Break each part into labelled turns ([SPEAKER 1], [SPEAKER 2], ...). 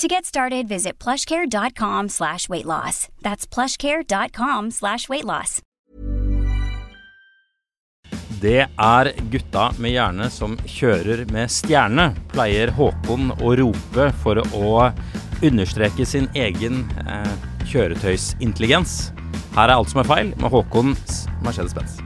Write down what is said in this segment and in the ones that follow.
[SPEAKER 1] To get started, visit plushcare.com slash weight loss. That's plushcare.com slash weight loss.
[SPEAKER 2] Det er gutta med hjerne som kjører med stjerne, pleier Håkon å rope for å understreke sin egen eh, kjøretøysintelligens. Her er alt som er feil med Håkons Mercedes-Benz.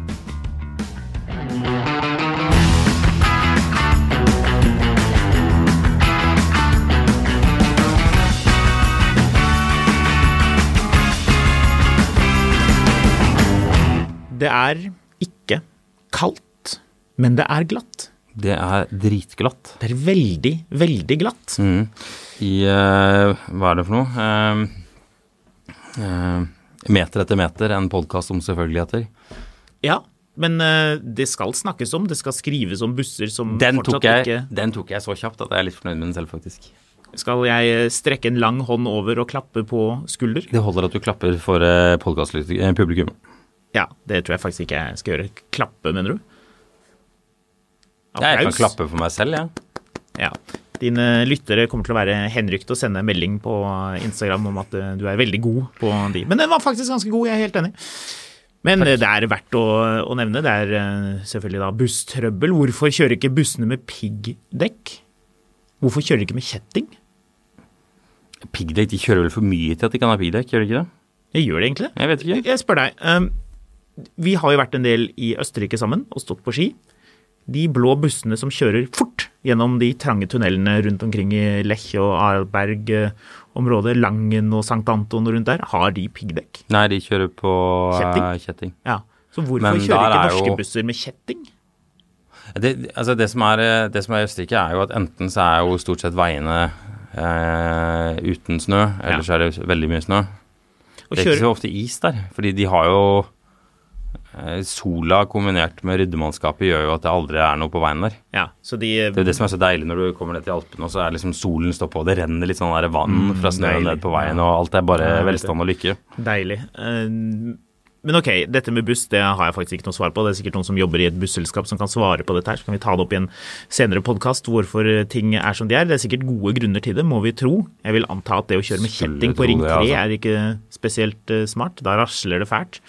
[SPEAKER 3] Det er ikke kaldt, men det er glatt.
[SPEAKER 2] Det er dritglatt.
[SPEAKER 3] Det er veldig, veldig glatt.
[SPEAKER 2] Mm. I eh, Hva er det for noe? Eh, eh, meter etter meter, en podkast om selvfølgeligheter.
[SPEAKER 3] Ja, men eh, det skal snakkes om, det skal skrives om busser som
[SPEAKER 2] Den tok,
[SPEAKER 3] fortsatt
[SPEAKER 2] jeg, den tok jeg så kjapt at jeg er litt fornøyd med den selv, faktisk.
[SPEAKER 3] ikke Skal jeg eh, strekke en lang hånd over og klappe på skulder?
[SPEAKER 2] Det holder at du klapper for eh, podkastpublikum.
[SPEAKER 3] Ja, det tror jeg faktisk ikke jeg skal gjøre. Klappe, mener du?
[SPEAKER 2] Jeg kan
[SPEAKER 3] Applaus.
[SPEAKER 2] klappe for meg selv, jeg.
[SPEAKER 3] Ja. Dine lyttere kommer til å være henrykt og sende melding på Instagram om at eh, du er veldig god på de. Men den var faktisk ganske god, jeg er helt enig. Men eh, det er verdt å, å nevne. Det er eh, selvfølgelig da busstrøbbel. Hvorfor kjører ikke bussene med piggdekk? Hvorfor kjører de ikke med kjetting?
[SPEAKER 2] Piggdekk, de kjører vel for mye til at de kan ha piggdekk, gjør de ikke det?
[SPEAKER 3] Jeg gjør det egentlig.
[SPEAKER 2] Jeg vet ikke.
[SPEAKER 3] Jeg spør deg. ehm, Vi har jo vært en del i Østerrike sammen og stått på ski. De blå bussene som kjører fort gjennom de trange tunnelene rundt omkring i Lech og Arlberg-området, Langen og Sankt Anton og rundt der, har de piggdekk.
[SPEAKER 2] Nei, de kjører på kjetting.
[SPEAKER 3] Kjetting?
[SPEAKER 2] kjetting.
[SPEAKER 3] Ja. Så hvorfor
[SPEAKER 2] Men
[SPEAKER 3] kjører
[SPEAKER 2] der
[SPEAKER 3] ikke
[SPEAKER 2] er
[SPEAKER 3] norske
[SPEAKER 2] jo-
[SPEAKER 3] busser med kjetting?
[SPEAKER 2] Det, altså det, som er, eh, det som er i Østerrike, er jo at enten så er jo stort sett veiene eh, uten snø, eller så er det veldig mye snø.
[SPEAKER 3] Og
[SPEAKER 2] Det er ikke
[SPEAKER 3] kjører,
[SPEAKER 2] så ofte is der, fordi de har jo eh, Sola kombinert med ryddemannskapet gjør jo at det aldri er noe på veien der.
[SPEAKER 3] ja, så de
[SPEAKER 2] Det er jo det som er så deilig når du kommer ned til Alpene, og så er liksom solen står på, og det renner litt sånn der vann fra snøen
[SPEAKER 3] deilig.
[SPEAKER 2] ned på veien, og alt er bare
[SPEAKER 3] Ja, jeg vet det.
[SPEAKER 2] velstand og lykke.
[SPEAKER 3] Deilig. Eh, Men ok, dette med buss det har jeg faktisk ikke noe svar på. Det er sikkert noen som jobber i et busselskap som kan svare på dette her. Så kan vi ta det opp i en senere podkast hvorfor ting er som de er. Det er sikkert gode grunner til det, må vi tro. Jeg vil anta at det å kjøre med
[SPEAKER 2] Skulle
[SPEAKER 3] kjetting
[SPEAKER 2] tro
[SPEAKER 3] på Ring 3
[SPEAKER 2] det, altså.
[SPEAKER 3] er ikke spesielt eh, smart. Da rasler det fælt.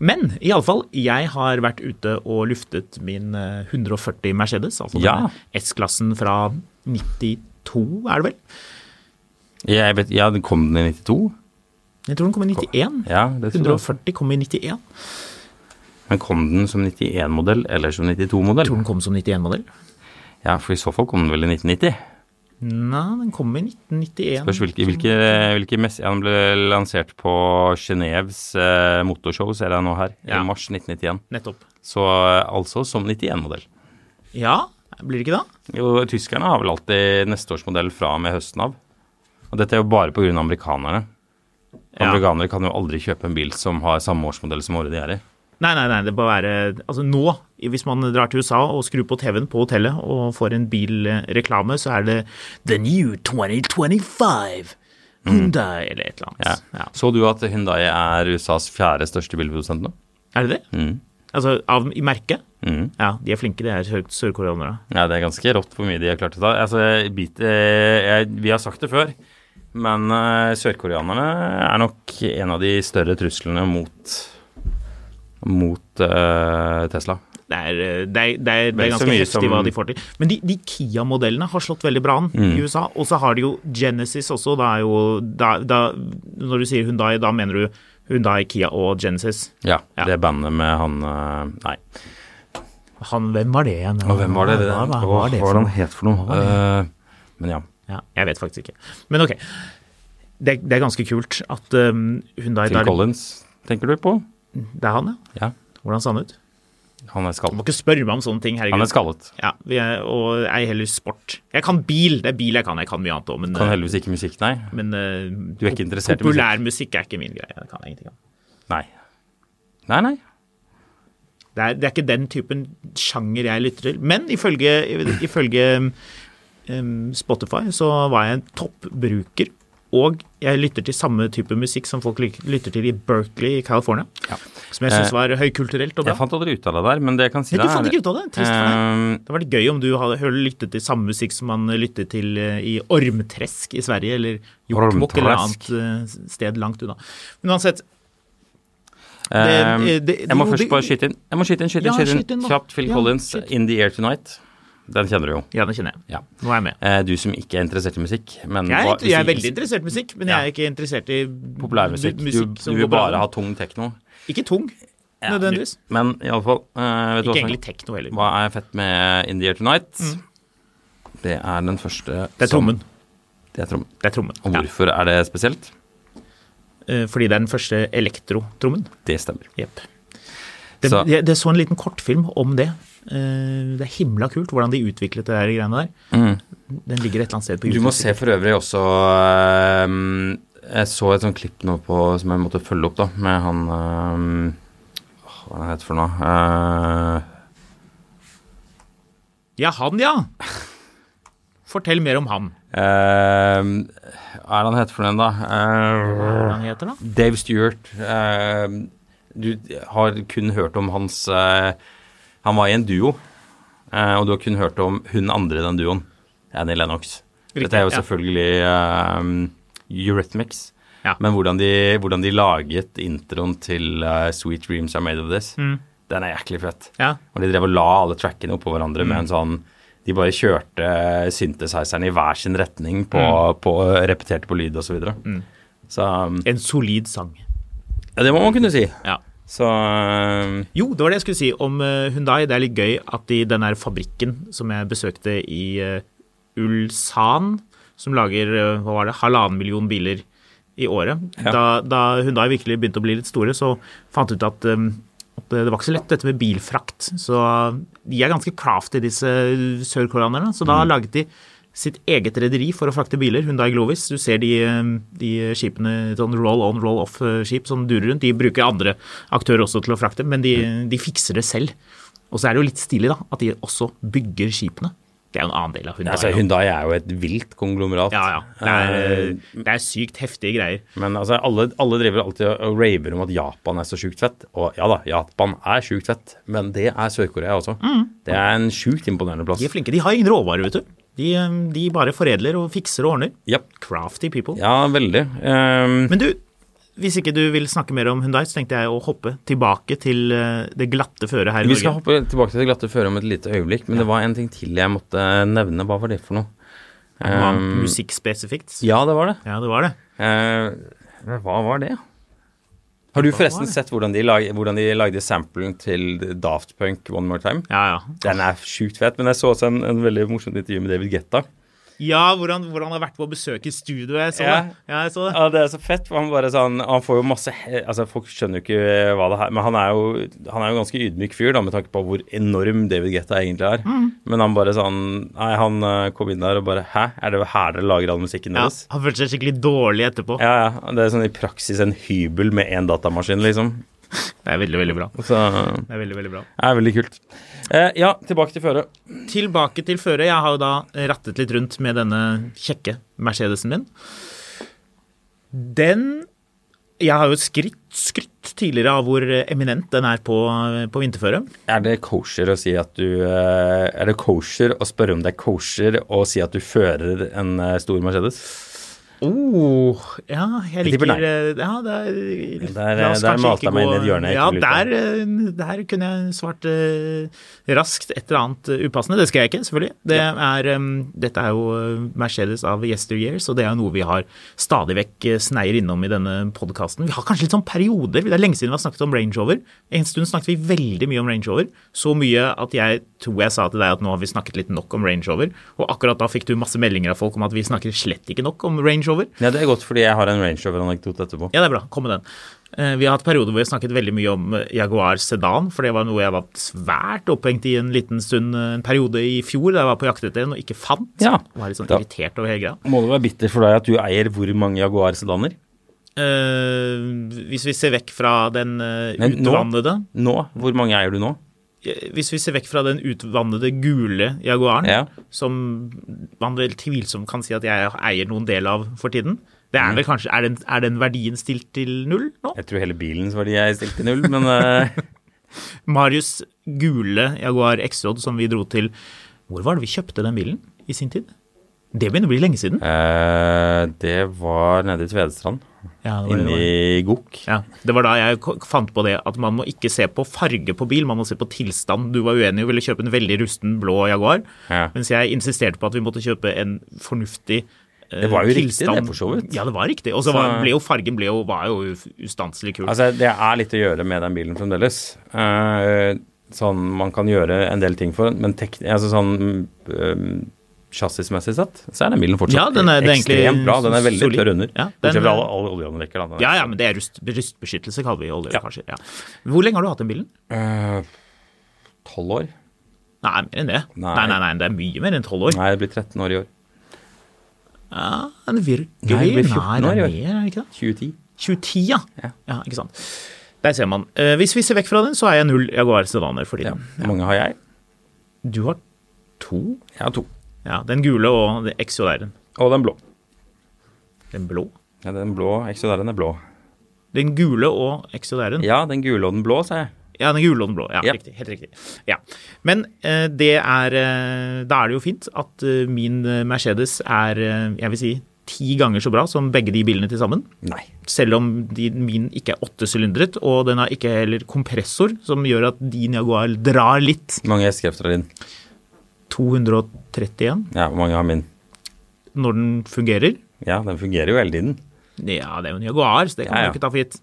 [SPEAKER 3] Men iallfall, jeg har vært ute og luftet min eh, 140 Mercedes, altså
[SPEAKER 2] Ja.
[SPEAKER 3] denne S-klassen fra 92, er det vel?
[SPEAKER 2] Jeg vet, ja, kom den i 92?
[SPEAKER 3] Jeg tror den kom i 91.
[SPEAKER 2] Ja, det tror jeg.
[SPEAKER 3] 140 kom i 91.
[SPEAKER 2] Men kom den som 91-modell eller som
[SPEAKER 3] Jeg tror
[SPEAKER 2] 92-modell?
[SPEAKER 3] den kom som 91-modell.
[SPEAKER 2] Ja, for i så fall kom den vel i 1990.
[SPEAKER 3] Nei, den kom i 1991.
[SPEAKER 2] Spørs hvilke, hvilke, hvilke mess... Ja, den ble lansert på Geneves eh, motorshow, ser jeg nå her,
[SPEAKER 3] Ja.
[SPEAKER 2] i mars 1991.
[SPEAKER 3] Nettopp.
[SPEAKER 2] Så eh, altså som 91-modell.
[SPEAKER 3] Ja, blir det ikke da?
[SPEAKER 2] Jo, tyskerne har vel alltid neste års modell fra og med høsten av. Og dette er jo bare pga. amerikanerne.
[SPEAKER 3] Ja.
[SPEAKER 2] Amerikanere kan jo aldri kjøpe en bil som har samme årsmodell som året de er i.
[SPEAKER 3] Nei, nei, nei, det bør være Altså nå, hvis man drar til USA og skrur på TV-en på hotellet og får en bilreklame, så er det The new 2025 Hyundai eller et eller
[SPEAKER 2] Mm. Ja.
[SPEAKER 3] annet. Ja.
[SPEAKER 2] Så du at Hyundai er USAs fjerde største bilprodusent nå?
[SPEAKER 3] Er det det? Altså av, i merket?
[SPEAKER 2] Mm.
[SPEAKER 3] Ja, de er flinke, de her sør- sørkoreanere.
[SPEAKER 2] Ja, det er ganske rått hvor mye de har klart å ta. Altså, jeg bit, eh, jeg, vi har sagt det før, men eh, sørkoreanerne er nok en av de større truslene mot, mot eh, Tesla.
[SPEAKER 3] Det er, eh, det er, det er, det
[SPEAKER 2] Vel
[SPEAKER 3] er
[SPEAKER 2] så
[SPEAKER 3] ganske
[SPEAKER 2] mye
[SPEAKER 3] heftig
[SPEAKER 2] som-
[SPEAKER 3] hva de får til. Men de, de Kia-modellene har slått veldig bra an
[SPEAKER 2] Mm.
[SPEAKER 3] i USA. Og så har de jo Genesis også. Da er jo, da, da, når du sier Hundai, da mener du Hyundai, Kia og Genesis.
[SPEAKER 2] Ja,
[SPEAKER 3] Ja.
[SPEAKER 2] det bandet med han eh, Nei.
[SPEAKER 3] Han, hvem var det igjen?
[SPEAKER 2] Og hvem var det? det,
[SPEAKER 3] Hva,
[SPEAKER 2] Åh,
[SPEAKER 3] hva, var det for
[SPEAKER 2] han
[SPEAKER 3] noe?
[SPEAKER 2] het for noe? Eh, men ja.
[SPEAKER 3] Ja, jeg vet faktisk ikke. Men ok. Det, det er ganske kult at um, Hyundai
[SPEAKER 2] Phil
[SPEAKER 3] der-
[SPEAKER 2] Collins tenker du på?
[SPEAKER 3] Det er han, ja.
[SPEAKER 2] Ja.
[SPEAKER 3] Hvordan så han ut?
[SPEAKER 2] Han er
[SPEAKER 3] Du må
[SPEAKER 2] skallet.
[SPEAKER 3] ikke spørre meg om sånne ting,
[SPEAKER 2] Han er
[SPEAKER 3] herregud.
[SPEAKER 2] skallet.
[SPEAKER 3] Ja, vi er, og ei heller sport. Jeg kan bil, det er bil jeg kan. Jeg kan mye annet òg, men,
[SPEAKER 2] Kan
[SPEAKER 3] eh,
[SPEAKER 2] heldigvis ikke musikk, nei.
[SPEAKER 3] men eh,
[SPEAKER 2] Du er ikke interessert i musikk?
[SPEAKER 3] populær musikk. er ikke min greie. Det kan jeg ingenting om.
[SPEAKER 2] Nei. Nei, nei.
[SPEAKER 3] Det er, det er ikke den typen sjanger jeg lytter til. Men ifølge, ifølge em, Spotify så var jeg en toppbruker. Og jeg lytter til samme type musikk som folk lik- lytter til i Berkeley i California.
[SPEAKER 2] Ja. Eh,
[SPEAKER 3] Som jeg syns var høykulturelt og
[SPEAKER 2] Jeg
[SPEAKER 3] bra.
[SPEAKER 2] fant aldri ut av det der, men det jeg kan si
[SPEAKER 3] Nei, du fant ikke ut av det? Trist for deg.
[SPEAKER 2] Eh,
[SPEAKER 3] Det var litt gøy om du hadde hørt lyttet til samme musikk som man lyttet til eh, i Ormtresk i Sverige, eller Jokkmokk eller
[SPEAKER 2] Ormträsk.
[SPEAKER 3] annet eh, sted langt unna. Men uansett,
[SPEAKER 2] Eh,
[SPEAKER 3] Det- det- det-
[SPEAKER 2] jeg må
[SPEAKER 3] jo,
[SPEAKER 2] først
[SPEAKER 3] det-
[SPEAKER 2] bare skyte inn. Jeg må skyte inn, skyte inn,
[SPEAKER 3] Ja,
[SPEAKER 2] skyte inn.
[SPEAKER 3] skyt inn da.
[SPEAKER 2] Kjapt Phil
[SPEAKER 3] Ja,
[SPEAKER 2] Collins,
[SPEAKER 3] skyt.
[SPEAKER 2] In The Air Tonight. Den kjenner du jo.
[SPEAKER 3] ja, det kjenner jeg.
[SPEAKER 2] Ja.
[SPEAKER 3] Nå er jeg med.
[SPEAKER 2] Eh, du som ikke er interessert i musikk. Men
[SPEAKER 3] Jeg
[SPEAKER 2] hva-
[SPEAKER 3] er, jeg er
[SPEAKER 2] hvis-
[SPEAKER 3] veldig interessert i musikk, men
[SPEAKER 2] Ja.
[SPEAKER 3] jeg er ikke interessert i
[SPEAKER 2] Populærmusikk.
[SPEAKER 3] mu-
[SPEAKER 2] Du,
[SPEAKER 3] som
[SPEAKER 2] du vil
[SPEAKER 3] går bra.
[SPEAKER 2] bare ha tung tekno.
[SPEAKER 3] Ikke tung,
[SPEAKER 2] Ja,
[SPEAKER 3] nødvendigvis.
[SPEAKER 2] du- Men iallfall uh, Vet du hva,
[SPEAKER 3] Ikke egentlig Mm.
[SPEAKER 2] som-
[SPEAKER 3] tekno heller.
[SPEAKER 2] hva er fett med In The Air Tonight? Det er den første
[SPEAKER 3] Det er
[SPEAKER 2] som-
[SPEAKER 3] trommen.
[SPEAKER 2] Det er trommen.
[SPEAKER 3] Det er trommen.
[SPEAKER 2] Og
[SPEAKER 3] Ja.
[SPEAKER 2] hvorfor er det spesielt?
[SPEAKER 3] Eh, Fordi det er den første elektrotrommen.
[SPEAKER 2] Det stemmer.
[SPEAKER 3] Jepp. Det,
[SPEAKER 2] Så-
[SPEAKER 3] jeg, det så en liten kortfilm om det. Eh, Det er himla kult hvordan de utviklet det der greiene der. Den ligger et eller annet sted på
[SPEAKER 2] Mm. Du
[SPEAKER 3] YouTube.
[SPEAKER 2] må se for øvrig også ehm, Jeg så et sånt klipp nå på, som jeg måtte følge opp, da, med han ehm, åh, Hva er det han heter for noe? Eh,
[SPEAKER 3] Ja, han, ja! Fortell mer om han.
[SPEAKER 2] Eh, ehm, Hva er det han heter for noe, da?
[SPEAKER 3] Hva er det
[SPEAKER 2] Eh,
[SPEAKER 3] han heter, da?
[SPEAKER 2] Dave Stewart. ehm, du har kun hørt om hans eh, Han var i en duo, eh, og du har kun hørt om hun andre i den duoen, Annie Lennox. Dette er jo
[SPEAKER 3] ja.
[SPEAKER 2] selvfølgelig ehm, Eurythmics.
[SPEAKER 3] Ja.
[SPEAKER 2] Men hvordan de, hvordan de laget introen til eh, Sweet Dreams Are Made Of This, den er jæklig fett.
[SPEAKER 3] Mm. ja. Mm.
[SPEAKER 2] Og de drev og la alle trackene oppå hverandre med en sånn De bare kjørte synthesizeren i hver sin retning på,
[SPEAKER 3] Mm.
[SPEAKER 2] på repeterte på lyd og så videre. Så um,
[SPEAKER 3] En solid sang.
[SPEAKER 2] Ja, det må man kunne si.
[SPEAKER 3] Ja.
[SPEAKER 2] Så um,
[SPEAKER 3] Jo, det var det jeg skulle si om eh, Hyundai. Det er litt gøy at i den her fabrikken som jeg besøkte i eh, Ulsan, som lager eh, hva var det, halvannen million biler i året
[SPEAKER 2] Ja.
[SPEAKER 3] da, da Hyundai virkelig begynte å bli litt store, så fant jeg ut at, eh, at det var ikke så lett dette med bilfrakt. Så eh, de er ganske crafty, disse eh, sørkoreanerne. Så da laget de sitt eget rederi for å frakte biler, Hyundai Glovis. Du ser de, eh, de skipene, sånn roll-on, roll-off-skip som durer rundt. De bruker andre aktører også til å frakte, men de, de fikser det selv. Og så er det jo litt stilig da, at de også bygger skipene. Det er jo en annen del av Hyundai.
[SPEAKER 2] altså,
[SPEAKER 3] da.
[SPEAKER 2] Hyundai er jo et vilt konglomerat. Eh,
[SPEAKER 3] Ja, ja. Det er, eh, det er sykt heftige greier.
[SPEAKER 2] Men altså, alle, alle driver alltid og- og raver om at Japan er så sjukt fett. Og ja da, Japan er sjukt fett, men det er Sør-Korea også. Det er en sjukt imponerende plass.
[SPEAKER 3] Mm. De er flinke. De har ingen råvarer, vet du. De, eh, de bare foredler og fikser og ordner.
[SPEAKER 2] Japp.
[SPEAKER 3] Crafty people.
[SPEAKER 2] Ja, veldig. Ehm,
[SPEAKER 3] Men du, hvis ikke du vil snakke mer om Hyundai, så tenkte jeg å hoppe tilbake til eh, det glatte føret her i
[SPEAKER 2] vi skal
[SPEAKER 3] Norge.
[SPEAKER 2] hoppe tilbake til det glatte føret om et lite øyeblikk, men det var en ting til jeg måtte nevne. Hva var det for noe?
[SPEAKER 3] Det var
[SPEAKER 2] Ehm,
[SPEAKER 3] Musikk spesifikt. Ja.
[SPEAKER 2] ja, det var det.
[SPEAKER 3] det var det.
[SPEAKER 2] Eh, hva var det? Har du
[SPEAKER 3] Hva var
[SPEAKER 2] forresten
[SPEAKER 3] det?
[SPEAKER 2] sett hvordan de, lag, hvordan de lagde samplen til Daft Punk One More Time?
[SPEAKER 3] Ja, ja.
[SPEAKER 2] Den er sjukt fett, men jeg så også en, en veldig morsomt intervju med David Getta.
[SPEAKER 3] Ja, hvordan, hvordan han har vært på besøk i studio. Jeg så
[SPEAKER 2] Ja.
[SPEAKER 3] det. Ja, jeg så det.
[SPEAKER 2] Ja, det er så fett, for han bare sånn Han får jo masse he- Altså, folk skjønner jo ikke hva det her Men han er jo Han er jo ganske ydmyk fyr, da, med tanke på hvor enorm David Guetta egentlig er. Men han bare sånn Nei, han eh, kom inn der og bare Hæ, er det her dere lager all musikken
[SPEAKER 3] Ja,
[SPEAKER 2] deres? Ja.
[SPEAKER 3] han følte seg skikkelig dårlig etterpå.
[SPEAKER 2] Ja, Det er sånn i praksis en hybel med én datamaskin, liksom.
[SPEAKER 3] Det er veldig, veldig bra.
[SPEAKER 2] Så det
[SPEAKER 3] Det er veldig, veldig bra.
[SPEAKER 2] er veldig kult. Eh, ja, tilbake til føret.
[SPEAKER 3] tilbake til føret. Jeg har jo da rattet litt rundt med denne kjekke Mercedesen min. Den Jeg har jo skrytt, skrytt tidligere av hvor eminent den er på, på vinterføre.
[SPEAKER 2] Er det kosher å si at du eh, Er det kosher å spørre om det er kosher å si at du fører en eh, stor Mercedes?
[SPEAKER 3] Oh, ja, jeg
[SPEAKER 2] Jeg tipper
[SPEAKER 3] liker
[SPEAKER 2] nei.
[SPEAKER 3] eh, Ja, der,
[SPEAKER 2] der- eh, der malte jeg meg inn i et hjørne jeg
[SPEAKER 3] Ja,
[SPEAKER 2] ikke
[SPEAKER 3] der,
[SPEAKER 2] ville
[SPEAKER 3] eh, der kunne jeg svart eh, raskt et eller annet eh, upassende. Det skal jeg ikke, selvfølgelig. Det er, em, dette er jo eh, Mercedes av yesteryears, og det er jo noe vi har stadig vekk eh, sneier innom i denne podkasten. Vi har kanskje litt sånn perioder. Det er lenge siden vi har snakket om Range Rover. En stund snakket vi veldig mye om Range Rover. Så mye at jeg tror jeg sa til deg at nå har vi snakket litt nok om Range Rover. Og akkurat da fikk du masse meldinger av folk om at vi snakker slett ikke nok om Range Rover.
[SPEAKER 2] Ja, det er godt, fordi jeg har en Range Rover-anekdote etterpå.
[SPEAKER 3] Ja, det er bra. Kom med den. Eh, Vi har hatt perioder hvor jeg snakket veldig mye om eh, Jaguar sedan, for det var noe jeg var svært opphengt i en liten stund, eh, en periode i fjor da jeg var på jakt etter en og ikke fant.
[SPEAKER 2] Ja.
[SPEAKER 3] Var litt sånn
[SPEAKER 2] Da-
[SPEAKER 3] irritert over hele greia.
[SPEAKER 2] Må det være bitter for deg at du eier hvor mange Jaguar sedaner?
[SPEAKER 3] Eh, hvis vi ser vekk fra den eh,
[SPEAKER 2] Men nå-
[SPEAKER 3] utvannede
[SPEAKER 2] Nå? Hvor mange eier du nå?
[SPEAKER 3] eh, Hvis vi ser vekk fra den utvannede gule Jaguaren,
[SPEAKER 2] Ja.
[SPEAKER 3] som man vel tvilsomt kan si at jeg eier noen del av for tiden det
[SPEAKER 2] Mm.
[SPEAKER 3] er, vel kanskje, er, den, er den verdien stilt til null nå?
[SPEAKER 2] Jeg tror hele bilens verdi er stilt til null, men eh,
[SPEAKER 3] Marius gule Jaguar XJ som vi dro til Hvor var det vi kjøpte den bilen i sin tid? Det begynner å bli lenge siden.
[SPEAKER 2] eh, det var nede i Tvedestrand,
[SPEAKER 3] Ja, det var, det
[SPEAKER 2] inne
[SPEAKER 3] var.
[SPEAKER 2] i Gok.
[SPEAKER 3] Ja, det var da jeg ko- fant på det at man må ikke se på farge på bil, man må se på tilstand. Du var uenig og ville kjøpe en veldig rusten blå Jaguar,
[SPEAKER 2] Ja.
[SPEAKER 3] mens jeg insisterte på at vi måtte kjøpe en fornuftig eh,
[SPEAKER 2] Det var jo riktig,
[SPEAKER 3] tilstand.
[SPEAKER 2] det, for så vidt.
[SPEAKER 3] Ja, det var riktig. Og
[SPEAKER 2] Så-
[SPEAKER 3] så var- ble jo fargen ble jo, var jo u- ustanselig kul.
[SPEAKER 2] Altså, det er litt å gjøre med den bilen fremdeles. Eh, sånn, man kan gjøre en del ting for den, men tek altså, sånn um, chassismessig sett, så er den bilen fortsatt
[SPEAKER 3] Ja, den er- det er egentlig
[SPEAKER 2] ekstremt bra. Den er veldig
[SPEAKER 3] solid.
[SPEAKER 2] tørr under.
[SPEAKER 3] Ja, den-
[SPEAKER 2] Bortsett fra alle, alle oljeanlegger, da. Den er-
[SPEAKER 3] Ja, ja, men det er rust, rustbeskyttelse, kaller vi olje,
[SPEAKER 2] Ja.
[SPEAKER 3] kanskje. Ja. Hvor lenge har du hatt den bilen?
[SPEAKER 2] Eh, Tolv år?
[SPEAKER 3] Nei, mer enn det.
[SPEAKER 2] Nei.
[SPEAKER 3] Nei, nei, nei, det er mye mer enn tolv år.
[SPEAKER 2] Nei, det blir 13 år i år.
[SPEAKER 3] Ja, en virkelig
[SPEAKER 2] Nei, det blir 14
[SPEAKER 3] Nei, det
[SPEAKER 2] år,
[SPEAKER 3] er
[SPEAKER 2] jo.
[SPEAKER 3] mer, er det ikke det?
[SPEAKER 2] 2010.
[SPEAKER 3] 2010, ja.
[SPEAKER 2] Ja.
[SPEAKER 3] ja. ikke sant. Der ser man. Eh, hvis vi ser vekk fra den, så er jeg null Jaguar sedaner for
[SPEAKER 2] Ja.
[SPEAKER 3] tiden.
[SPEAKER 2] Hvor mange har jeg?
[SPEAKER 3] Du har to?
[SPEAKER 2] Jeg har to.
[SPEAKER 3] Ja, den gule og det- XJR-en.
[SPEAKER 2] Og den blå.
[SPEAKER 3] Den blå?
[SPEAKER 2] Ja, den blå XJR-en er blå.
[SPEAKER 3] Den gule og XJR-en. Ja.
[SPEAKER 2] Ja, den gule og den blå, sa jeg.
[SPEAKER 3] den gule og den blå. Ja,
[SPEAKER 2] Ja.
[SPEAKER 3] Riktig, helt riktig. Ja. Men eh, det er eh, Da er det jo fint at eh, min eh, Mercedes er, eh, jeg vil si, ti ganger så bra som begge de bilene til sammen.
[SPEAKER 2] Nei.
[SPEAKER 3] selv om de, min ikke er åttesylindret, og den har ikke heller kompressor, som gjør at din Jaguar drar litt.
[SPEAKER 2] Hvor mange hestekrefter har din?
[SPEAKER 3] 231
[SPEAKER 2] Ja, hvor mange har min?
[SPEAKER 3] når den fungerer.
[SPEAKER 2] Ja, den fungerer jo hele tiden.
[SPEAKER 3] Ja, det er jo en Jaguar, så det kan
[SPEAKER 2] Ja, ja.
[SPEAKER 3] man jo ikke ta for gitt.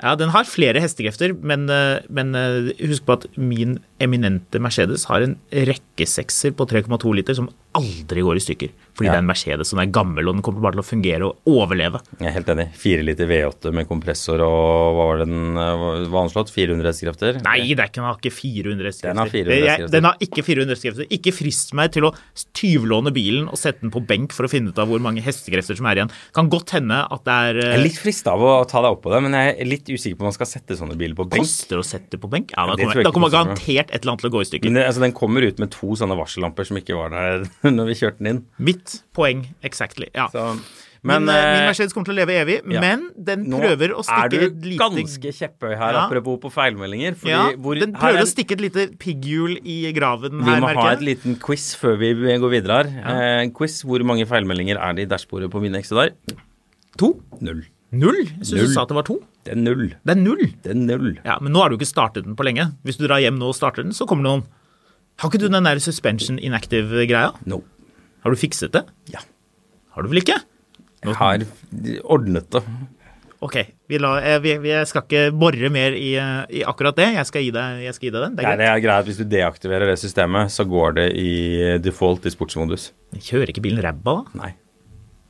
[SPEAKER 3] Ja, den har flere hestekrefter, men, eh, men eh, husk på at min eminente Mercedes har en rekkesekser på 3,2 liter som aldri går i stykker. Fordi
[SPEAKER 2] Ja.
[SPEAKER 3] det er en Mercedes, og den er gammel, og den kommer bare til å fungere og overleve.
[SPEAKER 2] Jeg er helt enig. 4 liter V8 med kompressor og hva var den eh, var anslått? 400 hestekrefter?
[SPEAKER 3] Nei, det er ikke, den har ikke 400 hestekrefter.
[SPEAKER 2] Den har 400
[SPEAKER 3] Det- jeg-
[SPEAKER 2] hestekrefter.
[SPEAKER 3] Den har ikke 400 hestekrefter. Ikke frist meg til å tyvlåne bilen og sette den på benk for å finne ut av hvor mange hestekrefter som er igjen. Kan godt hende at det er
[SPEAKER 2] Jeg er
[SPEAKER 3] eh,
[SPEAKER 2] litt frista av å ta deg opp på det, men jeg er litt usikker på om man skal sette sånne biler på benk.
[SPEAKER 3] eh, koster å sette på benk. Ja, da
[SPEAKER 2] det tror
[SPEAKER 3] kommer,
[SPEAKER 2] jeg
[SPEAKER 3] da
[SPEAKER 2] ikke
[SPEAKER 3] kommer
[SPEAKER 2] koster noe.
[SPEAKER 3] garantert et eller annet til å gå i stykker.
[SPEAKER 2] Men det, altså, den kommer ut med to sånne varsellamper som ikke var der når vi kjørte den inn.
[SPEAKER 3] Mitt poeng exactly. Ja.
[SPEAKER 2] Så,
[SPEAKER 3] Men,
[SPEAKER 2] men
[SPEAKER 3] min, eh, min
[SPEAKER 2] eh,
[SPEAKER 3] Mercedes kommer til å leve evig,
[SPEAKER 2] ja.
[SPEAKER 3] men den
[SPEAKER 2] nå
[SPEAKER 3] prøver å
[SPEAKER 2] er
[SPEAKER 3] stikke et
[SPEAKER 2] du
[SPEAKER 3] lite
[SPEAKER 2] ganske kjepphøy her,
[SPEAKER 3] Ja.
[SPEAKER 2] apropos på feilmeldinger. Fordi
[SPEAKER 3] ja,
[SPEAKER 2] hvor,
[SPEAKER 3] Den
[SPEAKER 2] her
[SPEAKER 3] prøver
[SPEAKER 2] er-
[SPEAKER 3] å stikke et lite pigghjul i graven
[SPEAKER 2] Vi
[SPEAKER 3] her,
[SPEAKER 2] må ha
[SPEAKER 3] merker
[SPEAKER 2] et
[SPEAKER 3] jeg.
[SPEAKER 2] liten quiz før vi går videre her. Eh, en quiz. Hvor mange feilmeldinger er det i dashbordet på min eksedar?
[SPEAKER 3] To?
[SPEAKER 2] Null.
[SPEAKER 3] Null? Jeg syns
[SPEAKER 2] Null.
[SPEAKER 3] du sa at det var to.
[SPEAKER 2] Det er null.
[SPEAKER 3] Det er null.
[SPEAKER 2] Det er null.
[SPEAKER 3] Ja, Men nå har du ikke startet den på lenge. Hvis du drar hjem nå og starter den, så kommer det noen. Har ikke du den der suspension inactive-greia?
[SPEAKER 2] No.
[SPEAKER 3] Har du fikset det?
[SPEAKER 2] Ja.
[SPEAKER 3] Har du vel ikke?
[SPEAKER 2] Jeg har ordnet det.
[SPEAKER 3] Ok, vi, la, eh, vi, vi jeg skal ikke bore mer i, eh, i akkurat det. Jeg skal gi deg, jeg skal gi deg den. Det
[SPEAKER 2] Nei,
[SPEAKER 3] er greit.
[SPEAKER 2] det er greit Hvis du deaktiverer det systemet, så går det i default i sportsmodus.
[SPEAKER 3] Men Kjører ikke bilen ræva, da?
[SPEAKER 2] Nei.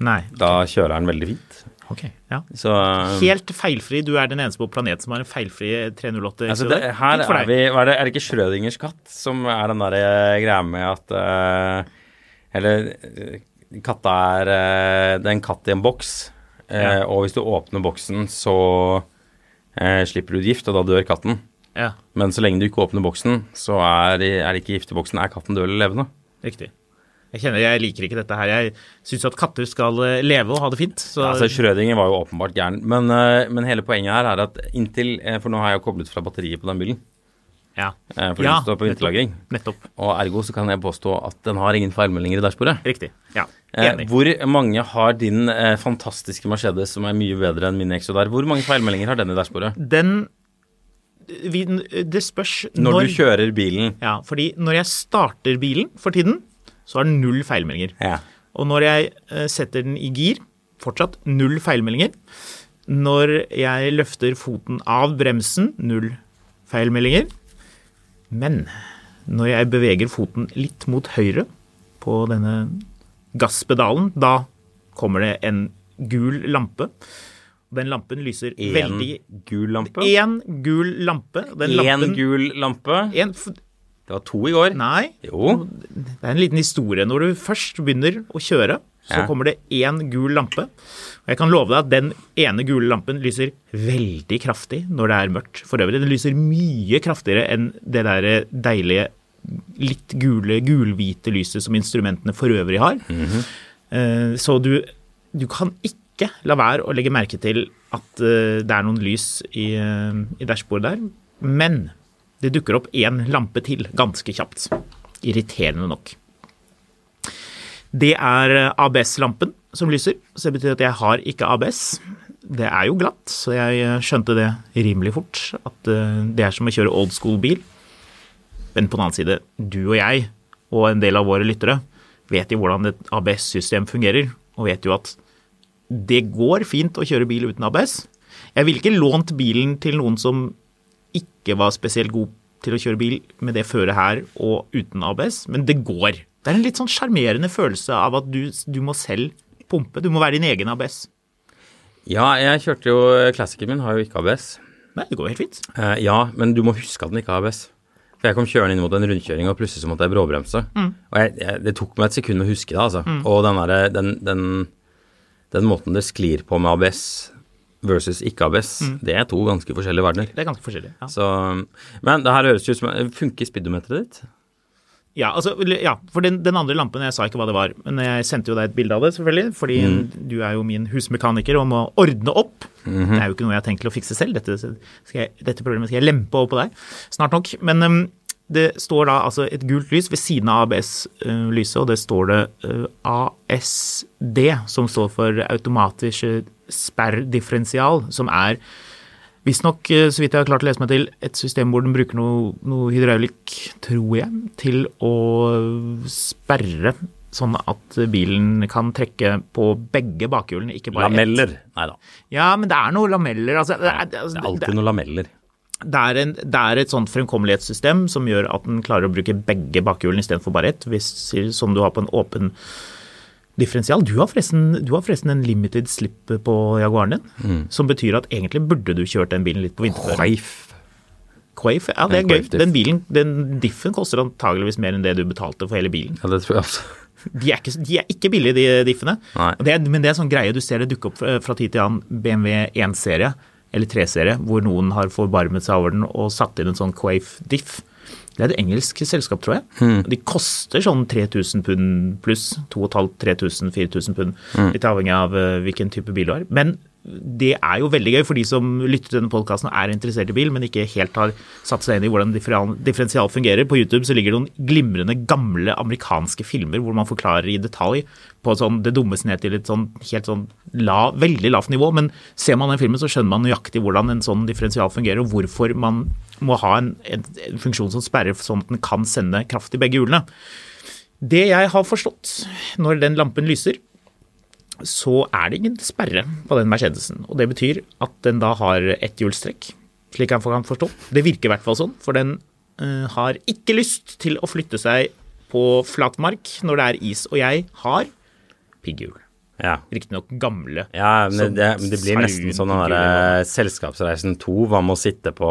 [SPEAKER 3] Nei.
[SPEAKER 2] Da kjører den veldig fint.
[SPEAKER 3] Ok, ja.
[SPEAKER 2] Så eh,
[SPEAKER 3] Helt feilfri. Du er den eneste på planeten som har en feilfri 308.
[SPEAKER 2] altså
[SPEAKER 3] XJR.
[SPEAKER 2] det, her
[SPEAKER 3] Fint for
[SPEAKER 2] er
[SPEAKER 3] deg.
[SPEAKER 2] vi hva er det, er det ikke Schrødingers katt som er den der eh, greia med at eh, Eller eh, katta er eh, Det er en katt i en boks, eh, og hvis du åpner boksen, så eh, slipper du ut gift, og da dør katten.
[SPEAKER 3] Ja,
[SPEAKER 2] Men så lenge du ikke åpner boksen, så er, er det ikke gift i boksen. Er katten død eller levende?
[SPEAKER 3] riktig. Jeg kjenner, jeg liker ikke dette her. Jeg syns at katter skal eh, leve og ha det fint. Så
[SPEAKER 2] Altså, Schrødinger var jo åpenbart gæren. Men, eh, men hele poenget her er at inntil eh, For nå har jeg jo koblet fra batteriet på den bilen.
[SPEAKER 3] ja.
[SPEAKER 2] eh, For den står på
[SPEAKER 3] nettopp.
[SPEAKER 2] vinterlagring.
[SPEAKER 3] Nettopp.
[SPEAKER 2] Og ergo så kan jeg påstå at den har ingen feilmeldinger i dashbordet.
[SPEAKER 3] Riktig. Ja.
[SPEAKER 2] Eh,
[SPEAKER 3] Enig.
[SPEAKER 2] hvor mange har din eh, fantastiske Mercedes, som er mye bedre enn min Exodar, hvor mange feilmeldinger har den i dashbordet?
[SPEAKER 3] Den vi, Det spørs
[SPEAKER 2] Når, du kjører bilen.
[SPEAKER 3] Ja, fordi når jeg starter bilen for tiden, så har den null feilmeldinger.
[SPEAKER 2] Ja.
[SPEAKER 3] Og når jeg eh, setter den i gir, fortsatt null feilmeldinger. Når jeg løfter foten av bremsen, null feilmeldinger. Men når jeg beveger foten litt mot høyre på denne gasspedalen, da kommer det en gul lampe. Den lampen lyser
[SPEAKER 2] Én
[SPEAKER 3] veldig
[SPEAKER 2] gul lampe.
[SPEAKER 3] Én gul lampe. Den
[SPEAKER 2] Én
[SPEAKER 3] lampen-
[SPEAKER 2] gul lampe.
[SPEAKER 3] en f-
[SPEAKER 2] Det var to i går.
[SPEAKER 3] Nei.
[SPEAKER 2] Jo.
[SPEAKER 3] Det er en liten historie. Når du først begynner å kjøre, så
[SPEAKER 2] Ja.
[SPEAKER 3] kommer det én gul lampe. Og jeg kan love deg at den ene gule lampen lyser veldig kraftig når det er mørkt. For øvrig, den lyser mye kraftigere enn det der deilige litt gule, gulhvite lyset som instrumentene for øvrig har. Eh, Så du, du kan ikke la være å legge merke til at eh, det er noen lys i, eh, i dashbordet der. Men det dukker opp én lampe til ganske kjapt. Irriterende nok. Det er eh, ABS-lampen som lyser, så det betyr at jeg har ikke ABS. Det er jo glatt, så jeg eh, skjønte det rimelig fort, at eh, det er som å kjøre old school-bil. Men på den annen side, du og jeg, og en del av våre lyttere, vet jo hvordan et ABS-system fungerer, og vet jo at det går fint å kjøre bil uten ABS. Jeg ville ikke lånt bilen til noen som ikke var spesielt god til å kjøre bil med det føret her og uten ABS, men det går. Det er en litt sånn sjarmerende følelse av at du, du må selv pumpe. Du må være din egen ABS.
[SPEAKER 2] Ja, jeg kjørte jo Classicen min, har jo ikke ABS.
[SPEAKER 3] Nei, det går helt fint.
[SPEAKER 2] Eh, ja, men du må huske at den ikke har ABS. For jeg kom kjørende inn mot en rundkjøring, og plutselig så måtte jeg bråbremse.
[SPEAKER 3] Mm.
[SPEAKER 2] Og jeg, jeg, det tok meg et sekund å huske det, altså. Og den, derre- den, den, den måten det sklir på med ABS versus ikke ABS,
[SPEAKER 3] Mm.
[SPEAKER 2] det er to ganske forskjellige verdener.
[SPEAKER 3] Det er ganske forskjellig. Ja,
[SPEAKER 2] Så, men det her høres jo ut som Funker speedometeret ditt?
[SPEAKER 3] ja, altså, ja for den, den andre lampen, jeg sa ikke hva det var, men jeg sendte jo deg et bilde av det, selvfølgelig, fordi du er jo min husmekaniker og må ordne opp. Det er jo ikke noe jeg har tenkt til å fikse selv, dette, skal jeg, dette problemet skal jeg lempe over på deg snart nok. Men ehm, det står da altså et gult lys ved siden av ABS-lyset, uh, og det står det eh, ASD, som står for automatisk eh, sperrdifferensial, som er Visstnok, eh, så vidt jeg har klart å lese meg til, et system hvor den bruker noe, noe hydraulikk, tror jeg, til å sperre sånn at bilen kan trekke på begge bakhjulene, ikke bare ett.
[SPEAKER 2] Lameller? Nei da.
[SPEAKER 3] Ja, men det er noen lameller. Altså, det, er,
[SPEAKER 2] Det
[SPEAKER 3] altså,
[SPEAKER 2] er
[SPEAKER 3] det,
[SPEAKER 2] alltid noen lameller.
[SPEAKER 3] det, er en, det er et sånt fremkommelighetssystem som gjør at den klarer å bruke begge bakhjulene istedenfor bare ett, hvis, som du har på en åpen differensial. Du har forresten, du har forresten en limited slip på Jaguaren din,
[SPEAKER 2] Mm.
[SPEAKER 3] som betyr at egentlig burde du kjørt den bilen litt på vinterføre.
[SPEAKER 2] Quaif.
[SPEAKER 3] Quaife, ja
[SPEAKER 2] En
[SPEAKER 3] det er gøy.
[SPEAKER 2] Quaife diff.
[SPEAKER 3] Den bilen, den diffen koster antageligvis mer enn det du betalte for hele bilen.
[SPEAKER 2] Ja, det tror jeg også.
[SPEAKER 3] De er ikke, de er ikke billige, de eh, diffene.
[SPEAKER 2] Nei.
[SPEAKER 3] Og Det er, men det er sånn greie du ser det dukke opp eh, fra- fra tid til annen. BMW 1-serie eller 3-serie, hvor noen har forbarmet seg over den og satt inn en sånn Quaife diff. Det er et engelsk selskap, tror jeg.
[SPEAKER 2] Hmm.
[SPEAKER 3] De koster sånn 3000 pund pluss. 2500-3000-4000 pund.
[SPEAKER 2] Hmm.
[SPEAKER 3] Litt avhengig av eh, hvilken type bil du har. Men det er jo veldig gøy for de som lytter til denne podkasten og er interessert i bil, men ikke helt har satt seg inn i hvordan differal- differensial fungerer. På YouTube så ligger det noen glimrende gamle amerikanske filmer hvor man forklarer i detalj på sånn det dummeste ned til et sånn helt sånn la, veldig lavt nivå. Men ser man den filmen, så skjønner man nøyaktig hvordan en sånn differensial fungerer, og hvorfor man må ha en, en, en funksjon som sperrer sånn at den kan sende kraft i begge hjulene. Det jeg har forstått når den lampen lyser, så er det ingen sperre på den Mercedesen. Og det betyr at den da har etthjulstrekk, slik jeg kan forstå. Det virker i hvert fall sånn, for den eh, har ikke lyst til å flytte seg på flatmark når det er is. Og jeg har pigghjul.
[SPEAKER 2] Ja.
[SPEAKER 3] Riktignok gamle.
[SPEAKER 2] Ja, men
[SPEAKER 3] Sånn
[SPEAKER 2] det, men det blir nesten sånn den derre Selskapsreisen 2, hva med å sitte på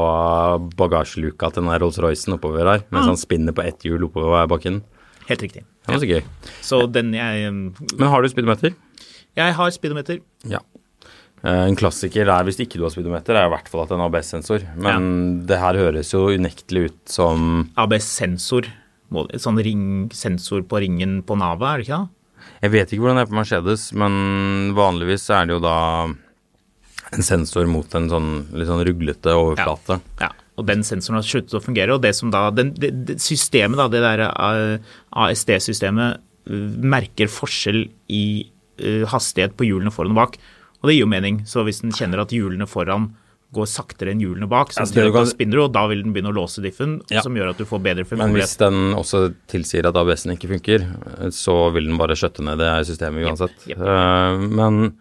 [SPEAKER 2] bagasjeluka til den der Rolls-Roycen oppover her, mens han spinner på ett hjul oppover bakken.
[SPEAKER 3] Helt riktig.
[SPEAKER 2] Det var så gøy.
[SPEAKER 3] Så den jeg
[SPEAKER 2] Men har du speedometer?
[SPEAKER 3] Jeg har speedometer.
[SPEAKER 2] Ja. En klassiker er, hvis ikke du har speedometer, er i hvert fall at det er en ABS-sensor. Men det her høres jo unektelig ut som
[SPEAKER 3] ABS-sensor. Må- Sånn ring, sensor på ringen på navet, er det ikke det?
[SPEAKER 2] Jeg vet ikke hvordan det er på Mercedes, men vanligvis er det jo da en sensor mot en sånn litt sånn ruglete overflate.
[SPEAKER 3] Ja, og den sensoren har sluttet å fungere. Og det som da, den, det, det systemet, da, det der eh, ASD-systemet merker forskjell i eh, hastighet på hjulene foran og bak. Og det gir jo mening. Så hvis den kjenner at hjulene foran går saktere enn hjulene bak, så
[SPEAKER 2] Altså, det
[SPEAKER 3] betyr det at
[SPEAKER 2] kan-
[SPEAKER 3] da spinner du, og da vil den begynne å låse diffen,
[SPEAKER 2] Ja.
[SPEAKER 3] som gjør at du får bedre
[SPEAKER 2] Men
[SPEAKER 3] fremkommelighet.
[SPEAKER 2] hvis den også tilsier at ABS-en ikke funker, så vil den bare skjøtte ned det her systemet uansett.
[SPEAKER 3] jep.
[SPEAKER 2] Eh, men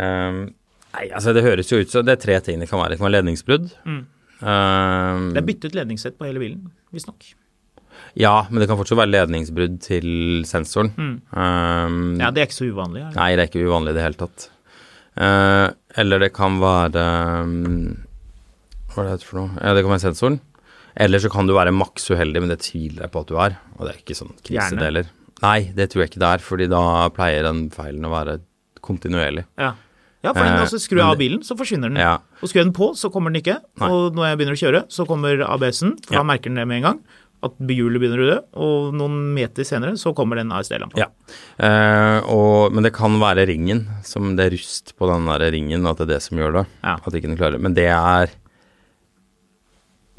[SPEAKER 2] eh, Nei, altså det høres jo ut som Det er tre ting det kan være. Det kan være ledningsbrudd. Eh,
[SPEAKER 3] Mm. Det er byttet ledningssett på hele bilen, visstnok.
[SPEAKER 2] ja, men det kan fortsatt være ledningsbrudd til sensoren. Eh,
[SPEAKER 3] Mm. Ja, det er ikke så uvanlig. Er det?
[SPEAKER 2] Nei, det er ikke uvanlig i det hele tatt. Eh, eller det kan være mm, Hva er det det heter for noe? Ja, det kan være sensoren. Eller så kan du være maks uheldig, men det tviler jeg på at du er. Og det er ikke sånn
[SPEAKER 3] Hjerne?
[SPEAKER 2] krisedeler. Nei, det tror jeg ikke det er, fordi da pleier den feilen å være kontinuerlig.
[SPEAKER 3] Ja. ja, for den
[SPEAKER 2] Eh,
[SPEAKER 3] altså, skrur
[SPEAKER 2] men
[SPEAKER 3] jeg av
[SPEAKER 2] det-
[SPEAKER 3] bilen, så forsvinner den.
[SPEAKER 2] Ja.
[SPEAKER 3] Og skrur jeg den på, så kommer den ikke.
[SPEAKER 2] Nei.
[SPEAKER 3] Og når jeg begynner å kjøre, så kommer ABS-en, for
[SPEAKER 2] Ja.
[SPEAKER 3] da merker den det med en gang. At hjulet begynner å dø, og noen meter senere så kommer den ASD-lampa.
[SPEAKER 2] Ja. Eh, og, men det kan være ringen, som det er rust på den der ringen, at det er det som gjør det.
[SPEAKER 3] Ja.
[SPEAKER 2] At ikke den klarer det. Men det er,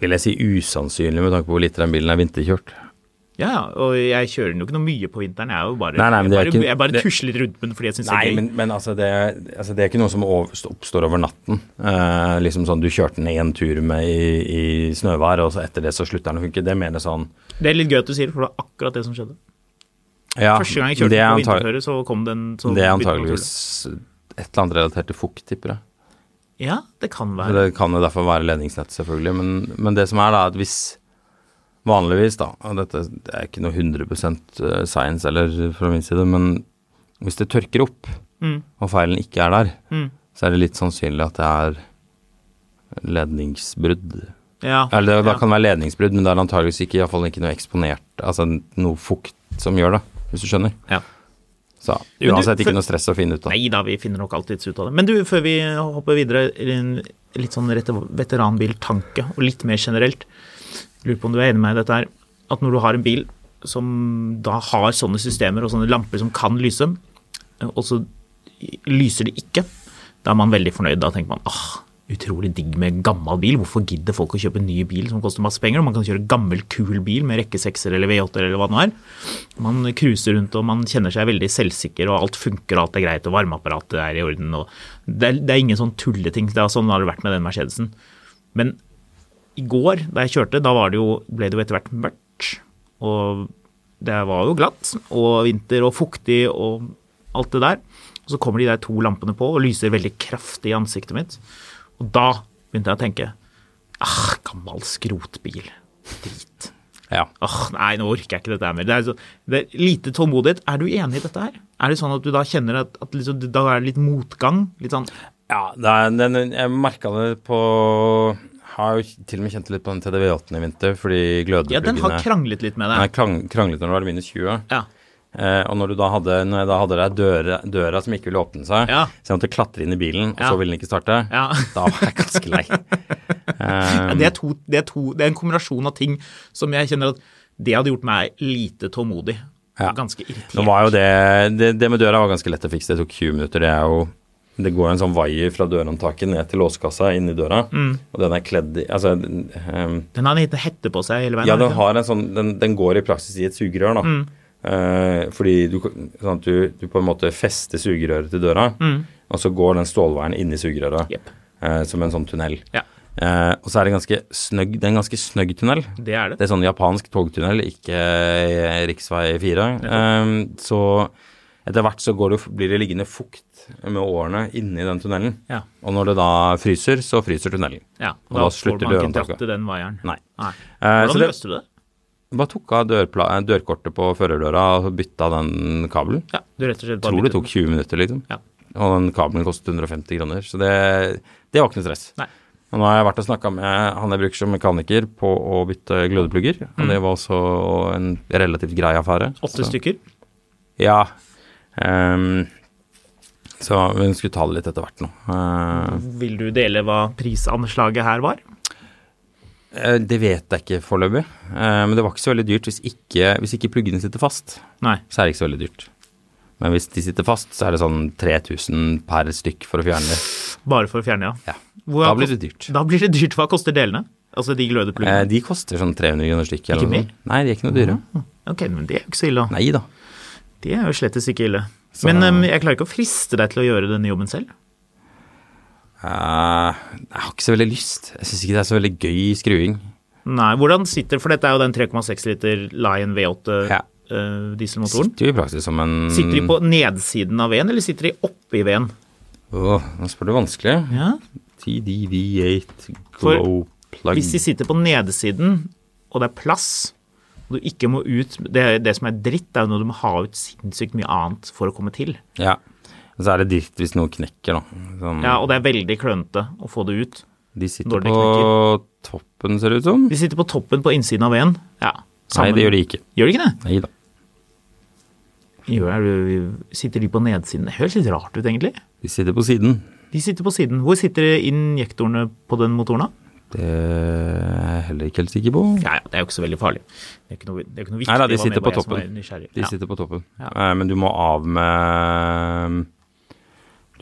[SPEAKER 2] vil jeg si, usannsynlig med tanke på hvor lite den bilen er vinterkjørt.
[SPEAKER 3] Ja, ja, og jeg kjører den jo ikke noe mye på vinteren. Jeg, er jo bare,
[SPEAKER 2] Nei, nei, men det er
[SPEAKER 3] jeg, bare,
[SPEAKER 2] ikke-
[SPEAKER 3] jeg bare
[SPEAKER 2] det-
[SPEAKER 3] tusler litt rundt med den fordi jeg syns det
[SPEAKER 2] Nei,
[SPEAKER 3] er gøy.
[SPEAKER 2] men, men altså det, altså det er ikke noe som over, oppstår over natten. Eh, liksom sånn Du kjørte den én tur med i, i snøvær, og så etter det så slutter den å funke. Det mener jeg sånn
[SPEAKER 3] Det er litt gøy at du sier det, for det var akkurat det som skjedde.
[SPEAKER 2] ja,
[SPEAKER 3] Første gang jeg kjørte
[SPEAKER 2] det er
[SPEAKER 3] den på
[SPEAKER 2] antag-
[SPEAKER 3] vinterføre, så kom den så
[SPEAKER 2] Det er
[SPEAKER 3] begynte den å
[SPEAKER 2] antageligvis et eller annet relatert til fukt, tipper jeg.
[SPEAKER 3] tulle. Ja, det kan
[SPEAKER 2] Så
[SPEAKER 3] være.
[SPEAKER 2] Det kan jo derfor være ledningsnett, selvfølgelig. Men, men det som er, da, at hvis vanligvis, da og Dette er ikke noe 100 science eller fra min side, men hvis det tørker opp,
[SPEAKER 3] Mm.
[SPEAKER 2] og feilen ikke er der,
[SPEAKER 3] Mm.
[SPEAKER 2] så er det litt sannsynlig at det er ledningsbrudd.
[SPEAKER 3] Ja,
[SPEAKER 2] Eller det, da
[SPEAKER 3] ja.
[SPEAKER 2] kan det være ledningsbrudd, men det er antageligvis ikke, i hvert fall ikke noe eksponert, altså noe fukt som gjør det, hvis du skjønner.
[SPEAKER 3] Ja.
[SPEAKER 2] Så
[SPEAKER 3] Men du,
[SPEAKER 2] uansett
[SPEAKER 3] for-
[SPEAKER 2] ikke noe stress å finne ut av.
[SPEAKER 3] Nei da, vi finner nok alltids ut av det. Men du, før vi hopper videre, en litt sånn rett- veteranbiltanke, og litt mer generelt. Lurer på om du er enig med meg i dette her. At når du har en bil som da har sånne systemer og sånne lamper som kan lyse, og så lyser de ikke, da er man veldig fornøyd. Da tenker man åh, utrolig digg med gammel bil. Hvorfor gidder folk å kjøpe en ny bil som koster masse penger? Og man kan kjøre gammel, kul bil med rekke sekser eller V8-er eller hva det nå er. Man cruiser rundt og man kjenner seg veldig selvsikker, og alt funker og alt er greit, og varmeapparatet er i orden. Og det, er, det er ingen sånn tulleting. Det er sånn har det vært med den Mercedesen. Men i går, da jeg kjørte, da var det jo, ble det jo etter hvert mørkt. Og det var jo glatt, og vinter og fuktig og alt det der. Og så kommer de der to lampene på og lyser veldig kraftig i ansiktet mitt. Og da begynte jeg å tenke Ah, gammel skrotbil. Drit.
[SPEAKER 2] Ja.
[SPEAKER 3] Åh, nei, nå orker jeg ikke dette her mer. Det er, så, det er lite tålmodighet. Er du enig i dette her? Er det sånn at du da kjenner at, at liksom, da er det litt motgang? Litt sånn
[SPEAKER 2] Ja, det er, den, jeg merka det på Har jo til og med kjent litt på den TDV8-en i vinter, fordi glødepluggene
[SPEAKER 3] Ja, den har kranglet litt med
[SPEAKER 2] Nei,
[SPEAKER 3] deg.
[SPEAKER 2] krang, kranglet når det var minus 20.
[SPEAKER 3] Ja.
[SPEAKER 2] Eh, og når, du da hadde, når jeg da hadde det døra, døra som ikke ville åpne seg,
[SPEAKER 3] Ja.
[SPEAKER 2] så jeg måtte klatre inn i bilen, og
[SPEAKER 3] Ja.
[SPEAKER 2] så ville den ikke starte,
[SPEAKER 3] Ja.
[SPEAKER 2] da var jeg ganske lei.
[SPEAKER 3] Ja,
[SPEAKER 2] Eh,
[SPEAKER 3] Det, er to, det, er to, det er en kombinasjon av ting som jeg kjenner at det hadde gjort meg lite tålmodig.
[SPEAKER 2] Ja.
[SPEAKER 3] Og ganske
[SPEAKER 2] nå
[SPEAKER 3] irritert.
[SPEAKER 2] var jo det, det Det med døra var ganske lett å fikse, det tok 20 minutter. Det er jo det går en sånn vaier fra dørhåndtaket ned til låsekassa inn i døra,
[SPEAKER 3] Mm.
[SPEAKER 2] og den er kledd i Altså, den, ehm,
[SPEAKER 3] Den har en liten hette på seg hele veien.
[SPEAKER 2] Ja,
[SPEAKER 3] har den
[SPEAKER 2] den,
[SPEAKER 3] ikke? Mm.
[SPEAKER 2] har en sånn, den, den går i praksis i et sugerør, da. Eh, fordi du, sånn at du, du på en måte fester sugerøret til døra,
[SPEAKER 3] Mm.
[SPEAKER 2] og så går den stålveien inn i sugerøret
[SPEAKER 3] Jepp.
[SPEAKER 2] eh, som en sånn tunnel.
[SPEAKER 3] Ja.
[SPEAKER 2] Eh, og så er det, ganske snøgg, det er en ganske snøgg tunnel.
[SPEAKER 3] Det er
[SPEAKER 2] Det
[SPEAKER 3] det.
[SPEAKER 2] er sånn japansk togtunnel, ikke eh, riksvei 4. Eh, så etter hvert så går det, blir det liggende fukt med årene inni den tunnelen.
[SPEAKER 3] Ja.
[SPEAKER 2] Og når det da fryser, så fryser tunnelen.
[SPEAKER 3] Ja,
[SPEAKER 2] Og da slutter
[SPEAKER 3] får man ikke
[SPEAKER 2] dørhåndtaket.
[SPEAKER 3] dratt i den vaieren.
[SPEAKER 2] Nei.
[SPEAKER 3] Nei.
[SPEAKER 2] Eh, så
[SPEAKER 3] Hvordan
[SPEAKER 2] det-
[SPEAKER 3] løste du det?
[SPEAKER 2] Bare tok av dørpla eh, dørkortet på førerdøra og bytta den kabelen.
[SPEAKER 3] Ja, du rett og slett
[SPEAKER 2] Jeg
[SPEAKER 3] bare
[SPEAKER 2] tror det
[SPEAKER 3] byttet
[SPEAKER 2] tok 20 minutter, liksom.
[SPEAKER 3] Ja.
[SPEAKER 2] Og den kabelen kostet 150 kroner, så det, det var ikke noe stress.
[SPEAKER 3] Nei.
[SPEAKER 2] Og nå har jeg vært og snakka med han jeg bruker som mekaniker på å bytte glødeplugger, og det var også en relativt grei affære.
[SPEAKER 3] den. Mm. Åtte
[SPEAKER 2] Så-
[SPEAKER 3] stykker.
[SPEAKER 2] Ja. Ehm, så hun skulle ta det litt etter hvert nå. Eh,
[SPEAKER 3] Vil du dele hva prisanslaget her var?
[SPEAKER 2] eh, det vet jeg ikke foreløpig, eh, men det var ikke så veldig dyrt hvis ikke, hvis ikke pluggene sitter fast.
[SPEAKER 3] Nei.
[SPEAKER 2] så er det ikke så veldig dyrt. Men hvis de sitter fast, så er det sånn 3000 per stykk for å fjerne det.
[SPEAKER 3] Bare for å fjerne, ja.
[SPEAKER 2] Ja.
[SPEAKER 3] Hvor-
[SPEAKER 2] Da blir det dyrt.
[SPEAKER 3] Da blir det dyrt. Hva koster delene? Altså de glødepluggene?
[SPEAKER 2] Eh, de koster sånn 300 kroner stykket. eller
[SPEAKER 3] Ikke
[SPEAKER 2] noe
[SPEAKER 3] mer?
[SPEAKER 2] sånt. Nei, de er ikke noe dyre.
[SPEAKER 3] Ok, men det er jo ikke så ille. da.
[SPEAKER 2] Nei da.
[SPEAKER 3] Det er jo slettes ikke ille.
[SPEAKER 2] Så-
[SPEAKER 3] Men em, jeg klarer ikke å friste deg til å gjøre denne jobben selv.
[SPEAKER 2] Eh, jeg har ikke så veldig lyst. Jeg syns ikke det er så veldig gøy skruing.
[SPEAKER 3] Nei, hvordan sitter For dette er jo den 3,6 liter Lion V8
[SPEAKER 2] Ja.
[SPEAKER 3] eh, dieselmotoren.
[SPEAKER 2] Sitter jo i praksis som en
[SPEAKER 3] Sitter de på nedsiden av veden, eller sitter de oppi veden?
[SPEAKER 2] Åh, nå spør du vanskelig.
[SPEAKER 3] Ja.
[SPEAKER 2] TDV8
[SPEAKER 3] For
[SPEAKER 2] Glow Plug
[SPEAKER 3] Hvis de sitter på nedsiden, og det er plass, og du ikke må ut Det, er- det som er dritt, er jo når du må ha ut sinnssykt mye annet for å komme til.
[SPEAKER 2] Ja. Og så er det dritt hvis noe knekker, da. Sånn,
[SPEAKER 3] Ja, Og det er veldig klønete å få det ut.
[SPEAKER 2] de sitter
[SPEAKER 3] når det
[SPEAKER 2] på toppen, ser det ut som.
[SPEAKER 3] De sitter på toppen på innsiden av veden. Ja,
[SPEAKER 2] Nei, det gjør de ikke.
[SPEAKER 3] Gjør de ikke det?
[SPEAKER 2] Nei da.
[SPEAKER 3] Gjør, du- sitter de på nedsiden? Det høres litt rart ut, egentlig.
[SPEAKER 2] De sitter på siden.
[SPEAKER 3] De sitter på siden. Hvor sitter injektorene på den motoren, da?
[SPEAKER 2] Det er jeg heller ikke helt sikker på.
[SPEAKER 3] Ja, ja, det er jo ikke så veldig farlig. Det er ikke noe, det er ikke noe viktig.
[SPEAKER 2] Nei da, de
[SPEAKER 3] hva
[SPEAKER 2] sitter
[SPEAKER 3] med
[SPEAKER 2] på
[SPEAKER 3] jeg som
[SPEAKER 2] toppen.
[SPEAKER 3] er nysgjerrig.
[SPEAKER 2] De
[SPEAKER 3] Ja.
[SPEAKER 2] sitter på toppen.
[SPEAKER 3] Ja.
[SPEAKER 2] Eh, Men du må av med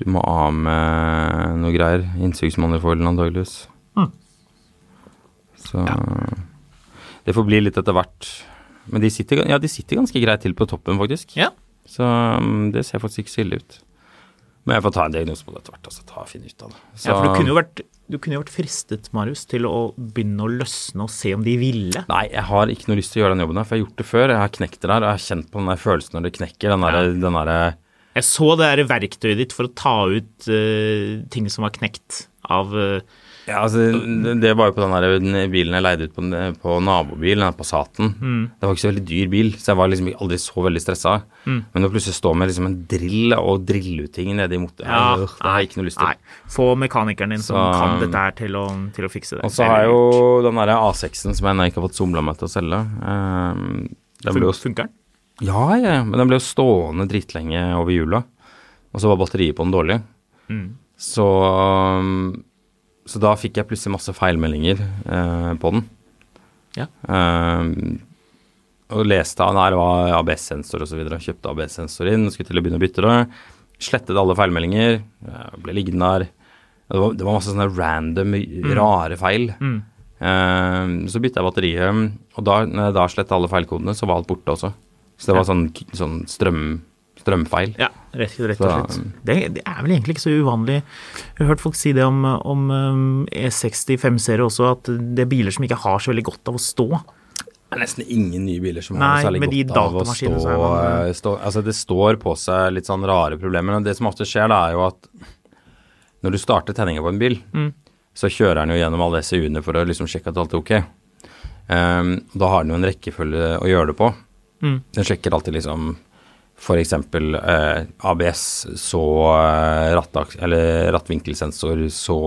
[SPEAKER 2] Du må av med noe greier. Innsynsmanifolden antageligvis.
[SPEAKER 3] Mm.
[SPEAKER 2] Så Det får bli litt etter hvert. Men de sitter, ja, de sitter ganske greit til på toppen, faktisk.
[SPEAKER 3] Ja.
[SPEAKER 2] Så mm, det ser faktisk ikke så ille ut. Men jeg får ta en diagnose på det etter hvert. Altså, ta og finne ut av det. Så,
[SPEAKER 3] ja, for du kunne jo vært, du kunne jo vært fristet, Marius, til å begynne å løsne og se om de ville.
[SPEAKER 2] Nei, jeg har ikke noe lyst til å gjøre den jobben her, for jeg har gjort det før. Jeg har knekt det der, og jeg har kjent på den der følelsen når det knekker. Den derre den derre-
[SPEAKER 3] Jeg så det der verktøyet ditt for å ta ut eh, ting som var knekt av eh,
[SPEAKER 2] Ja, altså, det var jo på den der øh, den bilen jeg leide ut på, den- øh, på nabobilen, den Passaten.
[SPEAKER 3] Mm.
[SPEAKER 2] Det var ikke så veldig dyr bil, så jeg var liksom aldri så veldig stressa.
[SPEAKER 3] Mm.
[SPEAKER 2] Men å plutselig stå med liksom en drill og drille ut ting nedi mot
[SPEAKER 3] Ja,
[SPEAKER 2] Øh, Det har jeg ikke noe lyst til.
[SPEAKER 3] Nei, få mekanikeren din som
[SPEAKER 2] Så, um,
[SPEAKER 3] kan dette her til å, til å fikse det.
[SPEAKER 2] Og så har jeg jo den derre A6-en som jeg ennå ikke har fått somla med til å selge. Ehm, den ble jo,
[SPEAKER 3] Fun- Funker den?
[SPEAKER 2] ja, ja, men den ble jo stående dritlenge over jula. Og så var batteriet på den dårlig. Så, um, så da fikk jeg plutselig masse feilmeldinger eh, på den.
[SPEAKER 3] Ja.
[SPEAKER 2] Um, og leste av der var ABS-sensor osv. Kjøpte ABS-sensor inn, skulle til å begynne å bytte det. Slettet alle feilmeldinger. eh, Ble liggende der. Det var, det var masse sånne random, rare feil. Eh, så bytta jeg batteriet, og da, når jeg da sletta alle feilkodene, så var alt borte også. Så det var sånn, sånn strøm, strømfeil.
[SPEAKER 3] Ja, rett, rett og
[SPEAKER 2] Så, um,
[SPEAKER 3] slett. Det, det er vel egentlig ikke så uvanlig. Jeg har hørt folk si det om, om um, E60 5-serie også, at det er biler som ikke har så veldig godt av å stå.
[SPEAKER 2] Det er nesten ingen nye biler som
[SPEAKER 3] Nei,
[SPEAKER 2] har noe særlig
[SPEAKER 3] med de
[SPEAKER 2] godt av å stå,
[SPEAKER 3] datamaskinene så er man-
[SPEAKER 2] eh, stå Altså, det står på seg litt sånn rare problemer. Og det som ofte skjer, da, er jo at når du starter tenninga på en bil,
[SPEAKER 3] Mm.
[SPEAKER 2] så kjører den jo gjennom alle SU-ene for å liksom sjekke at alt er ok. Um, da har den jo en rekkefølge å gjøre det på.
[SPEAKER 3] Mm.
[SPEAKER 2] Den sjekker alltid liksom f.eks. Eh, ABS, så eh, rattaks, eller rattvinkelsensor, så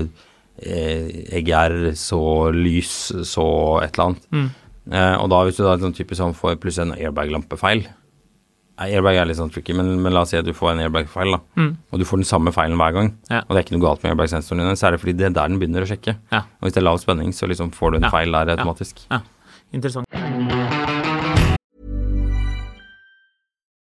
[SPEAKER 2] eh, EGR, så lys, så et eller annet.
[SPEAKER 3] Mm.
[SPEAKER 2] Eh, og da hvis du da sånn typisk sånn får plutselig en airbag-lampefeil Nei, Airbag er litt sånn tricky, men, men la oss si at du får en airbag-feil, da. Og du får den samme feilen hver gang.
[SPEAKER 3] Mm. Ja.
[SPEAKER 2] Og det er ikke noe galt med airbag-sensoren din, så er det fordi det er der den begynner å sjekke.
[SPEAKER 3] Ja.
[SPEAKER 2] Og hvis det er lav spenning, så liksom får du en
[SPEAKER 3] Ja.
[SPEAKER 2] feil der automatisk.
[SPEAKER 3] Ja, interessant.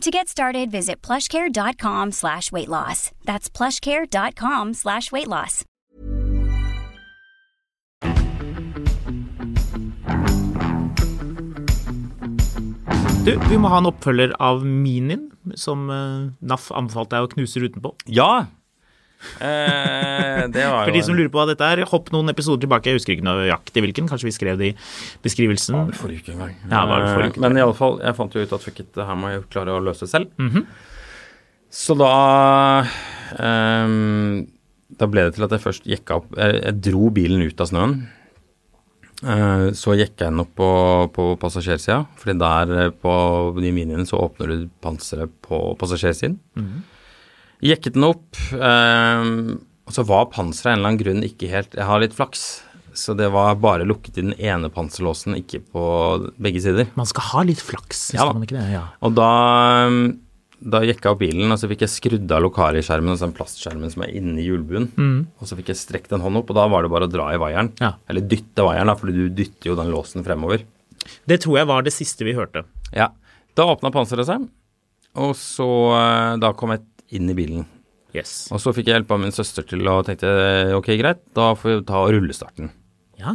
[SPEAKER 1] To get started, visit plushcare.com slash weight loss. That's plushcare.com slash weight loss.
[SPEAKER 3] Du, vi må ha en oppfølger av Minin, som eh, NAF anbefalte deg å knuse ruten på.
[SPEAKER 2] Ja! Eh, det var jo
[SPEAKER 3] For de som
[SPEAKER 2] en-
[SPEAKER 3] lurer på hva dette er, hopp noen episoder tilbake. Jeg husker ikke nøyaktig hvilken, kanskje vi skrev det i beskrivelsen.
[SPEAKER 2] Forrige uke en gang.
[SPEAKER 3] Ja, det var vel forrige uke.
[SPEAKER 2] Men i alle fall, jeg fant jo ut at fuck it, det her må jeg jo
[SPEAKER 3] Mhm.
[SPEAKER 2] klare å løse selv. Så da ehm, da ble det til at jeg først jekka opp Jeg, jeg dro bilen ut av snøen. Eh, Så jekka jeg den opp på, på passasjersida, fordi der eh, på de miniene så åpner du panseret på passasjersiden. Jekket den opp, eh, og så var panseret av en eller annen grunn ikke helt Jeg har litt flaks, så det var bare lukket i den ene panserlåsen, ikke på begge sider.
[SPEAKER 3] Man skal ha litt flaks,
[SPEAKER 2] Ja da.
[SPEAKER 3] skal man ikke det? Ja.
[SPEAKER 2] Og da, um, da jekka jeg opp bilen, og så fikk jeg skrudd av lokariskjermen, altså den plastskjermen som er inni hjulbuen, og så fikk jeg strekt en hånd opp, og da var det bare å dra i vaieren.
[SPEAKER 3] Ja.
[SPEAKER 2] Eller dytte vaieren, da, fordi du dytter jo den låsen fremover.
[SPEAKER 3] Det tror jeg var det siste vi hørte.
[SPEAKER 2] Ja. Da åpna panseret seg, og så eh, Da kom jeg inn i bilen.
[SPEAKER 3] Yes.
[SPEAKER 2] Og så fikk jeg hjelp av min søster til og tenkte ok, greit, da får vi ta rullestarten.
[SPEAKER 3] Ja.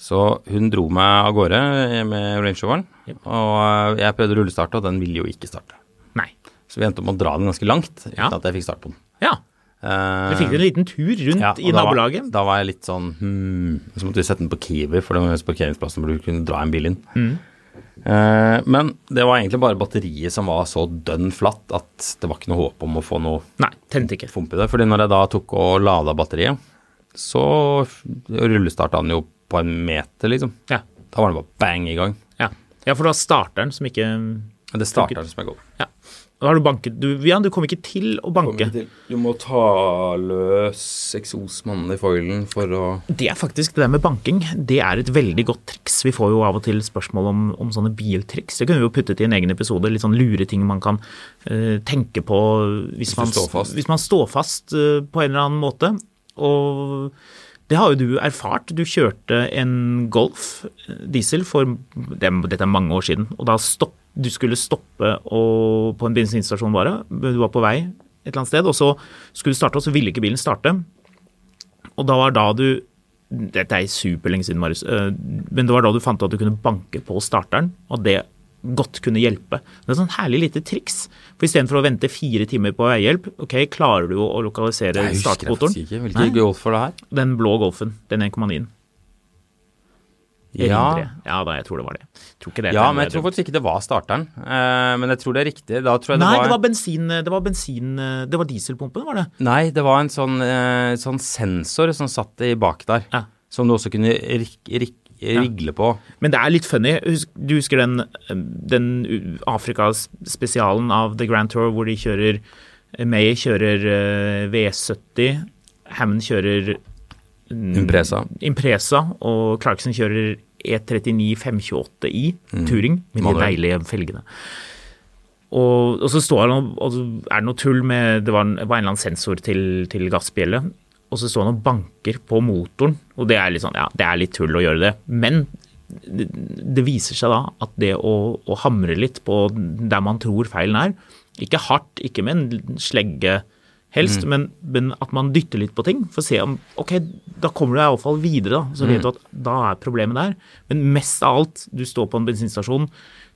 [SPEAKER 2] Så hun dro meg av gårde med Range Roveren, og eh, jeg prøvde å rullestarte, og den ville jo ikke starte.
[SPEAKER 3] Nei.
[SPEAKER 2] Så vi endte opp med å dra den ganske langt, uten
[SPEAKER 3] Ja.
[SPEAKER 2] at jeg fikk start på den.
[SPEAKER 3] Ja.
[SPEAKER 2] Eh,
[SPEAKER 3] Du fikk en liten tur rundt
[SPEAKER 2] ja, og
[SPEAKER 3] i
[SPEAKER 2] da var-
[SPEAKER 3] nabolaget.
[SPEAKER 2] Da var jeg litt sånn hmm. Så måtte vi sette den på Kiwi, for det var mest parkeringsplassen hvor du kunne dra en bil inn.
[SPEAKER 3] Hmm.
[SPEAKER 2] Eh, men det var egentlig bare batteriet som var så dønn flatt at det var ikke noe håp om å få noe
[SPEAKER 3] Nei, tente ikke.
[SPEAKER 2] fomp i det. Fordi når jeg da tok og lada batteriet, så f- rullestarta den jo på en meter, liksom.
[SPEAKER 3] Ja.
[SPEAKER 2] Da var den bare bang i gang.
[SPEAKER 3] Ja, ja for det var starteren som ikke
[SPEAKER 2] Men Det starter den som jeg går.
[SPEAKER 3] Ja. Da har du banket du, Ja, du kom ikke til å banke.
[SPEAKER 2] Du må ta løs eksosmannen i foilen for å
[SPEAKER 3] Det er faktisk det der med banking. Det er et veldig godt triks. Vi får jo av og til spørsmål om, om sånne biltriks. Det kunne vi jo puttet i en egen episode. Litt sånn lure ting man kan eh, tenke på hvis,
[SPEAKER 2] du
[SPEAKER 3] man,
[SPEAKER 2] står fast.
[SPEAKER 3] hvis man står fast eh, på en eller annen måte. Og det har jo du erfart. Du kjørte en Golf eh, diesel for det, Dette er mange år siden. Og da stopp, du skulle stoppe og, på en bensinstasjon bare. Du var på vei et eller annet sted, og så skulle du starte, og så ville ikke bilen starte. Og da var da du Dette er superlenge siden, Marius. eh, Men det var da du fant ut at du kunne banke på starteren, og det godt kunne hjelpe. Det er et sånn herlig lite triks. For istedenfor å vente fire timer på veihjelp, ok, klarer du å lokalisere
[SPEAKER 2] Jeg husker jeg faktisk
[SPEAKER 3] startmotoren?
[SPEAKER 2] ikke. Hvilken golf var det her?
[SPEAKER 3] Den blå Golfen, den 1,9-en. Ja. ja da, jeg tror det var det. Jeg Tror ikke det
[SPEAKER 2] Ja,
[SPEAKER 3] er
[SPEAKER 2] men jeg tror
[SPEAKER 3] bedre.
[SPEAKER 2] faktisk ikke det var starteren. Eh, men jeg tror det er riktig. Da tror jeg
[SPEAKER 3] Nei, det
[SPEAKER 2] det
[SPEAKER 3] var bensin eh, Det var, bensin, eh, det var dieselpumpen, var det?
[SPEAKER 2] Nei, det var en sånn, eh, sånn sensor som satt i bak der.
[SPEAKER 3] Ja.
[SPEAKER 2] Som du også kunne rik, rik, rigle på.
[SPEAKER 3] Men det er litt funny. Husk- Du husker den, den U- Afrika-spesialen av The Grand Tour hvor de kjører May kjører eh, V70, Hammond kjører
[SPEAKER 2] Impresa.
[SPEAKER 3] Impresa, og Clarkson kjører E39 528i Touring med de
[SPEAKER 2] Manuell.
[SPEAKER 3] deilige felgene. Og, og så står han og, og så er det noe tull med Det var en, var en eller annen sensor til, til gassbjelle. Og så står han og banker på motoren, og det er litt sånn Ja, det er litt tull å gjøre det, men det, det viser seg da at det å, å hamre litt på der man tror feilen er, ikke hardt, ikke med en slegge helst, men, men at man dytter litt på ting for å se om Ok, da kommer du deg iallfall videre, da. Så vet du at da er problemet der. Men mest av alt, du står på en bensinstasjon,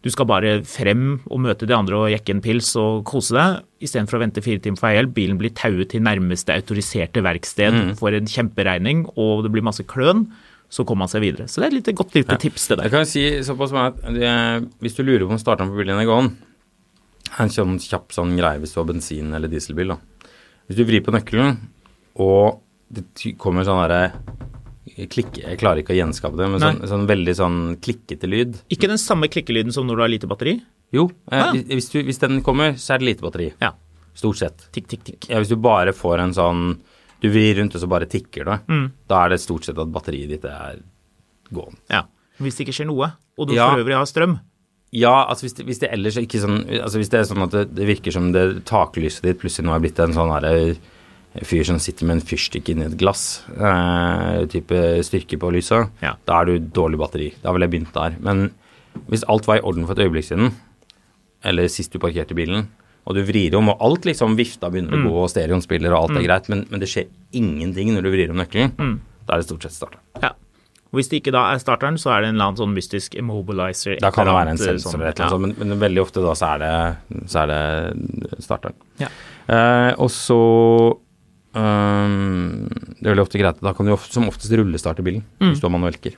[SPEAKER 3] du skal bare frem og møte de andre og jekke en pils og kose deg, istedenfor å vente fire timer for veihjelp. Bilen blir tauet til nærmeste autoriserte verksted, får en kjemperegning, og det blir masse kløn. Så kommer man seg videre. Så det er et lite godt lite tips, det der.
[SPEAKER 2] Jeg kan si såpass mye at eh, hvis du lurer på om starteren på bilen din er gåen, en sånn kjapp sånn greie hvis du har bensin- eller dieselbil, da. Hvis du vrir på nøkkelen, og det ty- kommer sånn derre klikk Jeg klarer ikke å gjenskape det, men
[SPEAKER 3] Nei.
[SPEAKER 2] sånn, sånn veldig sånn klikkete lyd.
[SPEAKER 3] Ikke den samme klikkelyden som når du har lite batteri.
[SPEAKER 2] Jo, eh,
[SPEAKER 3] Ah.
[SPEAKER 2] hvis- hvis, du, hvis den kommer, så er det lite batteri.
[SPEAKER 3] Ja.
[SPEAKER 2] Stort sett.
[SPEAKER 3] Tikk, tikk, tikk.
[SPEAKER 2] Ja, hvis du bare får en sånn Du vrir rundt, og så bare tikker det. Da er det stort sett at batteriet ditt er gående.
[SPEAKER 3] Ja. Hvis det ikke skjer noe, og du
[SPEAKER 2] Ja.
[SPEAKER 3] for øvrig har strøm.
[SPEAKER 2] Ja, altså hvis det, hvis det ellers ikke sånn Altså hvis det er sånn at det, det virker som det taklyset ditt plutselig nå er blitt en sånn herre fyr som sitter med en fyrstikk inni et glass, eh, type styrke på lyset,
[SPEAKER 3] Ja.
[SPEAKER 2] da er du dårlig batteri. Da ville jeg begynt der. Men hvis alt var i orden for et øyeblikk siden, eller sist du parkerte bilen, og du vrir om, og alt liksom vifta begynner å gå, og stereoen spiller, og alt er greit, men, men det skjer ingenting når du vrir om nøkkelen, da er det stort sett starta.
[SPEAKER 3] Ja. Og hvis det ikke da er starteren, så er det en eller annen sånn mystisk immobilizer. et
[SPEAKER 2] Da kan det
[SPEAKER 3] eller
[SPEAKER 2] være en
[SPEAKER 3] annet,
[SPEAKER 2] sensor
[SPEAKER 3] sånn.
[SPEAKER 2] eller et eller annet, sånt, men, men veldig ofte da så er det, så er det starteren.
[SPEAKER 3] Ja.
[SPEAKER 2] Eh, og så ehm, Det er veldig ofte greit. Da kan du ofte,
[SPEAKER 3] Mm.
[SPEAKER 2] som oftest rullestarte bilen hvis du har manuellker.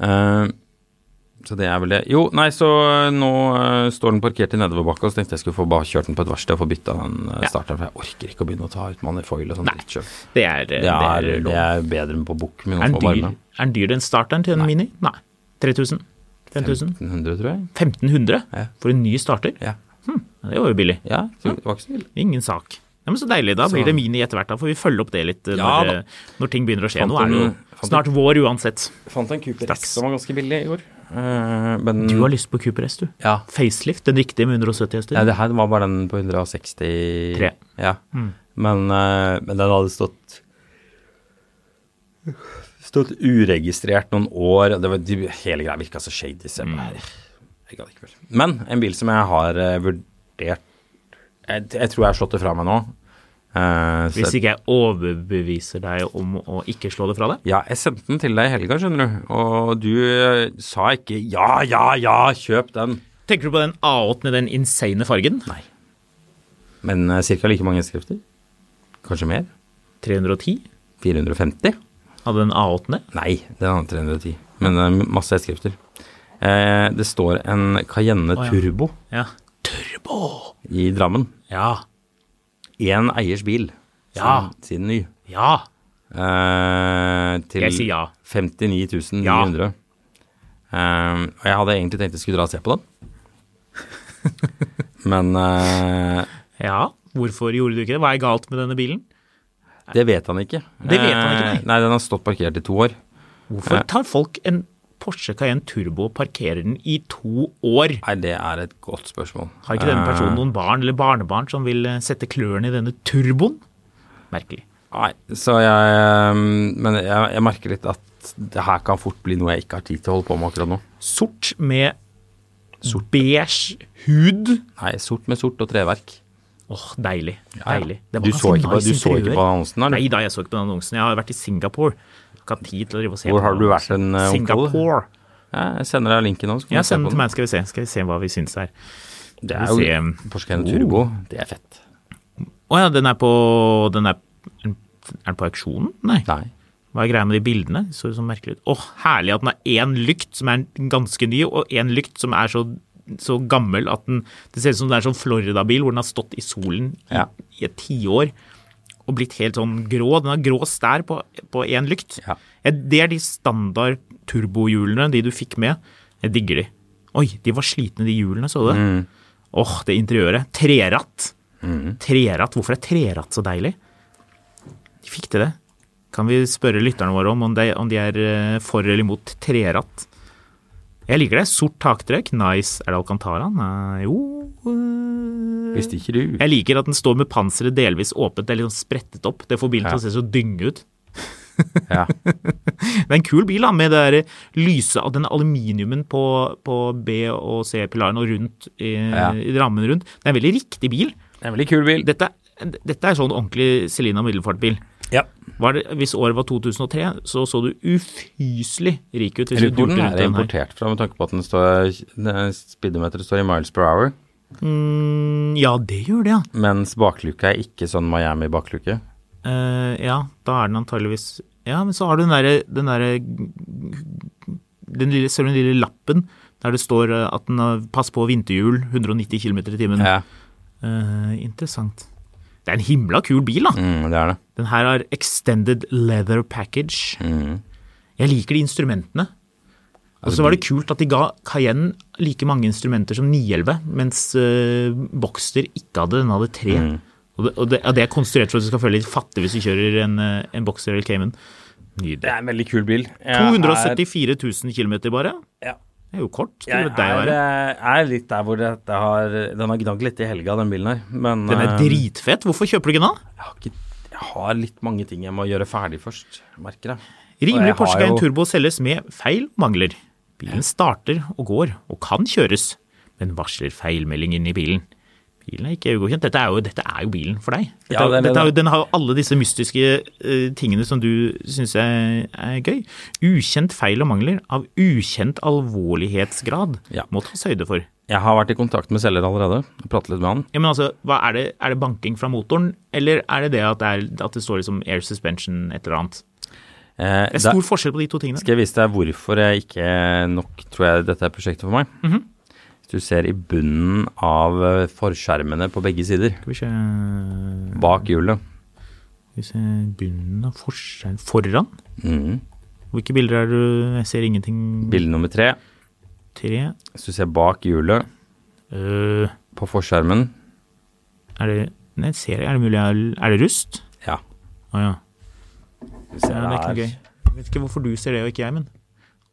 [SPEAKER 2] Eh, Så det er vel det. Jo, nei, så nå eh, står den parkert i nedoverbakka, så tenkte jeg skulle få bare kjørt den på et verksted og få bytta den eh,
[SPEAKER 3] Ja.
[SPEAKER 2] starteren, for jeg orker ikke å begynne å ta ut manifoil og sånn.
[SPEAKER 3] Nei.
[SPEAKER 2] dritt selv.
[SPEAKER 3] Det er,
[SPEAKER 2] Det er, det
[SPEAKER 3] lov.
[SPEAKER 2] er bedre enn på bukk med noen
[SPEAKER 3] Er den
[SPEAKER 2] få
[SPEAKER 3] dyr,
[SPEAKER 2] varme.
[SPEAKER 3] er den dyrere enn starteren til en Mini? Nei. 3000? 5000?
[SPEAKER 2] 1500, tror jeg.
[SPEAKER 3] 1500
[SPEAKER 2] Ja.
[SPEAKER 3] for en ny starter?
[SPEAKER 2] Ja.
[SPEAKER 3] Det var jo billig.
[SPEAKER 2] ja så det var ikke så ille.
[SPEAKER 3] Ingen sak. Ja, men Så deilig. Da blir
[SPEAKER 2] Så-
[SPEAKER 3] det Mini etter hvert. Da får vi følge opp det litt eh,
[SPEAKER 2] Ja,
[SPEAKER 3] når, eh, når ting begynner å skje.
[SPEAKER 2] Fant
[SPEAKER 3] Nå er det jo
[SPEAKER 2] en- fant
[SPEAKER 3] snart vår uansett.
[SPEAKER 2] Fant en Cooper
[SPEAKER 3] Straks.
[SPEAKER 2] S som var ganske billig i går. Eh, men
[SPEAKER 3] Du har lyst på Cooper S, du.
[SPEAKER 2] Ja.
[SPEAKER 3] Facelift, den riktige med 170 hester.
[SPEAKER 2] Nei, det her var bare den på 163
[SPEAKER 3] Tre. Mm.
[SPEAKER 2] Ja. Men, eh, men den hadde stått Stått uregistrert noen år. og Det var, de, hele greia virka så shady. Så jeg
[SPEAKER 3] Mm.
[SPEAKER 2] bare, jeg gadd ikke mer. Men en bil som jeg har eh, vurdert jeg, jeg tror jeg har slått det fra meg nå. Eh, så
[SPEAKER 3] Hvis
[SPEAKER 2] jeg-
[SPEAKER 3] ikke jeg overbeviser deg om å ikke slå det fra deg.
[SPEAKER 2] ja, jeg sendte den til deg i helga, skjønner du. Og du eh, sa ikke 'ja, ja, ja, kjøp den'.
[SPEAKER 3] Tenker du på den A8 med den insane fargen?
[SPEAKER 2] Nei. Men uh, ca. like mange skrifter. Kanskje mer.
[SPEAKER 3] 310?
[SPEAKER 2] 450?
[SPEAKER 3] Hadde den A8 det?
[SPEAKER 2] Nei, den hadde 310. Men det er masse S-skrifter. Eh, det står en Cayenne
[SPEAKER 3] Å, ja.
[SPEAKER 2] Turbo
[SPEAKER 3] Ja.
[SPEAKER 2] i Drammen.
[SPEAKER 3] Ja.
[SPEAKER 2] Én eiers bil
[SPEAKER 3] Ja.
[SPEAKER 2] siden, siden ny.
[SPEAKER 3] Ja.
[SPEAKER 2] Eh, til
[SPEAKER 3] Jeg sier ja.
[SPEAKER 2] 59
[SPEAKER 3] Ja.
[SPEAKER 2] 900. Eh, og jeg hadde egentlig tenkt jeg skulle dra og se på den. Men eh,
[SPEAKER 3] Ja. Hvorfor gjorde du ikke det? Hva er galt med denne bilen?
[SPEAKER 2] det vet han ikke.
[SPEAKER 3] Det vet han ikke, nei.
[SPEAKER 2] Eh, nei, den har stått parkert i to år.
[SPEAKER 3] Hvorfor tar folk en Porsche Cayenne Turbo og parkerer den i to år?
[SPEAKER 2] Nei, det er et godt spørsmål.
[SPEAKER 3] Har ikke denne
[SPEAKER 2] Eh,
[SPEAKER 3] personen noen barn eller barnebarn som vil eh, sette klørne i denne turboen? Merkelig.
[SPEAKER 2] Nei, så jeg eh, Men jeg, jeg merker litt at det her kan fort bli noe jeg ikke har tid til å holde på med akkurat nå.
[SPEAKER 3] Sort med beige hud.
[SPEAKER 2] Nei, sort med sort og treverk.
[SPEAKER 3] Åh, deilig.
[SPEAKER 2] ja.
[SPEAKER 3] deilig. Det var
[SPEAKER 2] Du
[SPEAKER 3] ganske
[SPEAKER 2] så ikke på-
[SPEAKER 3] nice
[SPEAKER 2] du så ikke
[SPEAKER 3] interiør.
[SPEAKER 2] på annonsen her, du?
[SPEAKER 3] Nei da, jeg så ikke på den annonsen. Jeg har vært i Singapore. Jeg har Ikke hatt tid til å drive og se
[SPEAKER 2] Hvor
[SPEAKER 3] på
[SPEAKER 2] har du vært en,
[SPEAKER 3] annonsen.
[SPEAKER 2] eh, onkel?
[SPEAKER 3] Singapore.
[SPEAKER 2] Ja, jeg sender deg linken nå. så kan
[SPEAKER 3] Ja,
[SPEAKER 2] du se
[SPEAKER 3] send
[SPEAKER 2] på
[SPEAKER 3] den til meg, skal vi se. Skal vi se hva vi syns her.
[SPEAKER 2] Det
[SPEAKER 3] Skal vi
[SPEAKER 2] er
[SPEAKER 3] se.
[SPEAKER 2] jo Porsche Cayenne
[SPEAKER 3] Oh.
[SPEAKER 2] Turbo. Det er fett.
[SPEAKER 3] Å ja, den er på den er, er den på auksjonen? Nei.
[SPEAKER 2] Nei.
[SPEAKER 3] Hva er greia med de bildene? De Så sånn merkelig ut. Åh, herlig at den har én lykt som er ganske ny, og én lykt som er så, så gammel at den Det ser ut som det er en sånn Florida-bil hvor den har stått i solen i,
[SPEAKER 2] Ja.
[SPEAKER 3] i et tiår og blitt helt sånn grå. Den har grå stær på på én lykt.
[SPEAKER 2] Ja.
[SPEAKER 3] Jeg- Det er de standard turbohjulene, de du fikk med. Jeg digger de. Oi, de var slitne, de hjulene, så du det? Åh, det interiøret. Treratt. Treratt. Hvorfor er treratt så deilig? De fikk til det. Kan vi spørre lytterne våre om om de, om de er eh, for eller imot treratt? Jeg liker det. Sort taktrekk, nice. Er det Alcantara? Nei, jo eh,
[SPEAKER 2] Visste ikke du.
[SPEAKER 3] Jeg liker at den står med panseret delvis åpent, det er litt sånn sprettet opp. Det får bilen til å
[SPEAKER 2] Ja.
[SPEAKER 3] se så dynge ut.
[SPEAKER 2] Ja.
[SPEAKER 3] Det er en kul bil da, med det der lyse av den aluminiumen på, på B- og C-pilaren og rundt i,
[SPEAKER 2] Ja.
[SPEAKER 3] i rammen rundt. Det er en veldig riktig bil.
[SPEAKER 2] Det er en veldig kul bil.
[SPEAKER 3] Dette, dette er sånn ordentlig Selina Middelfart-bil.
[SPEAKER 2] Ja.
[SPEAKER 3] Var det, hvis året var 2003, så så du ufyselig rik ut. Hvis du
[SPEAKER 2] Hvor
[SPEAKER 3] turte
[SPEAKER 2] den
[SPEAKER 3] rundt
[SPEAKER 2] er
[SPEAKER 3] den her.
[SPEAKER 2] importert fra, med tanke på at den står, den speedometeret står i miles per hour,
[SPEAKER 3] Mm, Ja, det gjør det, ja.
[SPEAKER 2] mens bakluka er ikke sånn Miami-bakluke.
[SPEAKER 3] Eh, ja, da er den antageligvis Ja, men så har du den derre den, derre- den lille, ser du den lille lappen der det står eh, at den har Pass på vinterhjul, 190 km i timen.
[SPEAKER 2] Ja,
[SPEAKER 3] Eh, interessant. Det er en himla kul bil, da.
[SPEAKER 2] mm, det er det.
[SPEAKER 3] Den her har extended leather package.
[SPEAKER 2] Mm.
[SPEAKER 3] Jeg liker de instrumentene. Og så var det kult at de ga Cayenne like mange instrumenter som 911, mens eh, Boxster ikke hadde. Den hadde tre.
[SPEAKER 2] Mm.
[SPEAKER 3] Og, det, og det, ja, det er konstruert for at du skal føle deg litt fattig hvis du kjører en, eh, en Boxster eller Cayman.
[SPEAKER 2] Det
[SPEAKER 3] Nydelig.
[SPEAKER 2] er en veldig kul bil. Jeg
[SPEAKER 3] 274 000 km bare.
[SPEAKER 2] er- ja.
[SPEAKER 3] Det er jo kort. skulle
[SPEAKER 2] Jeg
[SPEAKER 3] det deg
[SPEAKER 2] er,
[SPEAKER 3] være.
[SPEAKER 2] eh, er litt der hvor dette har Den har gnagd litt i helga, den bilen her. Men
[SPEAKER 3] Den er
[SPEAKER 2] eh,
[SPEAKER 3] dritfett. Hvorfor kjøper du ikke den da?
[SPEAKER 2] jeg, har ikke, jeg har litt mange ting jeg må gjøre ferdig først, merker jeg. Og
[SPEAKER 3] Rimelig
[SPEAKER 2] jeg har
[SPEAKER 3] Porsche Cayenne
[SPEAKER 2] jo-
[SPEAKER 3] Turbo selges med feil og mangler. Bilen starter og går, og kan kjøres, men varsler feilmelding inn i bilen. Bilen er ikke EU-godkjent. Dette, er jo- dette er jo bilen for deg. Dette,
[SPEAKER 2] Ja, det er det,
[SPEAKER 3] dette er jo,
[SPEAKER 2] det.
[SPEAKER 3] den har jo alle disse mystiske eh, tingene som du syns er, er gøy. Ukjent feil og mangler av ukjent alvorlighetsgrad
[SPEAKER 2] Ja.
[SPEAKER 3] må tas høyde for.
[SPEAKER 2] Jeg har vært i kontakt med selger allerede og pratet litt med han.
[SPEAKER 3] Ja, men altså, hva er, det, er det banking fra motoren, eller er det det at det, er, at det står liksom air suspension et eller annet?
[SPEAKER 2] Eh,
[SPEAKER 3] Det
[SPEAKER 2] da-
[SPEAKER 3] er stor forskjell på de to tingene.
[SPEAKER 2] Skal jeg vise deg hvorfor jeg ikke nok tror jeg dette er prosjektet for meg?
[SPEAKER 3] Mhm.
[SPEAKER 2] Hvis du ser i bunnen av eh, forskjermene på begge sider,
[SPEAKER 3] Skal vi se
[SPEAKER 2] bak hjulet
[SPEAKER 3] Skal vi se Bunnen av forskjellen Foran?
[SPEAKER 2] Mhm.
[SPEAKER 3] Hvilke bilder er det du Jeg ser ingenting.
[SPEAKER 2] Bilde nummer tre.
[SPEAKER 3] Tre.
[SPEAKER 2] Hvis du ser bak hjulet
[SPEAKER 3] Øh,
[SPEAKER 2] på forskjermen
[SPEAKER 3] er det Nei, jeg ser jeg. Er det mulig jeg Er det rust?
[SPEAKER 2] Ja.
[SPEAKER 3] Å ja.
[SPEAKER 2] Du
[SPEAKER 3] ja.
[SPEAKER 2] ser
[SPEAKER 3] Det er ikke
[SPEAKER 2] der.
[SPEAKER 3] noe gøy. Jeg vet ikke hvorfor du ser det og ikke jeg, men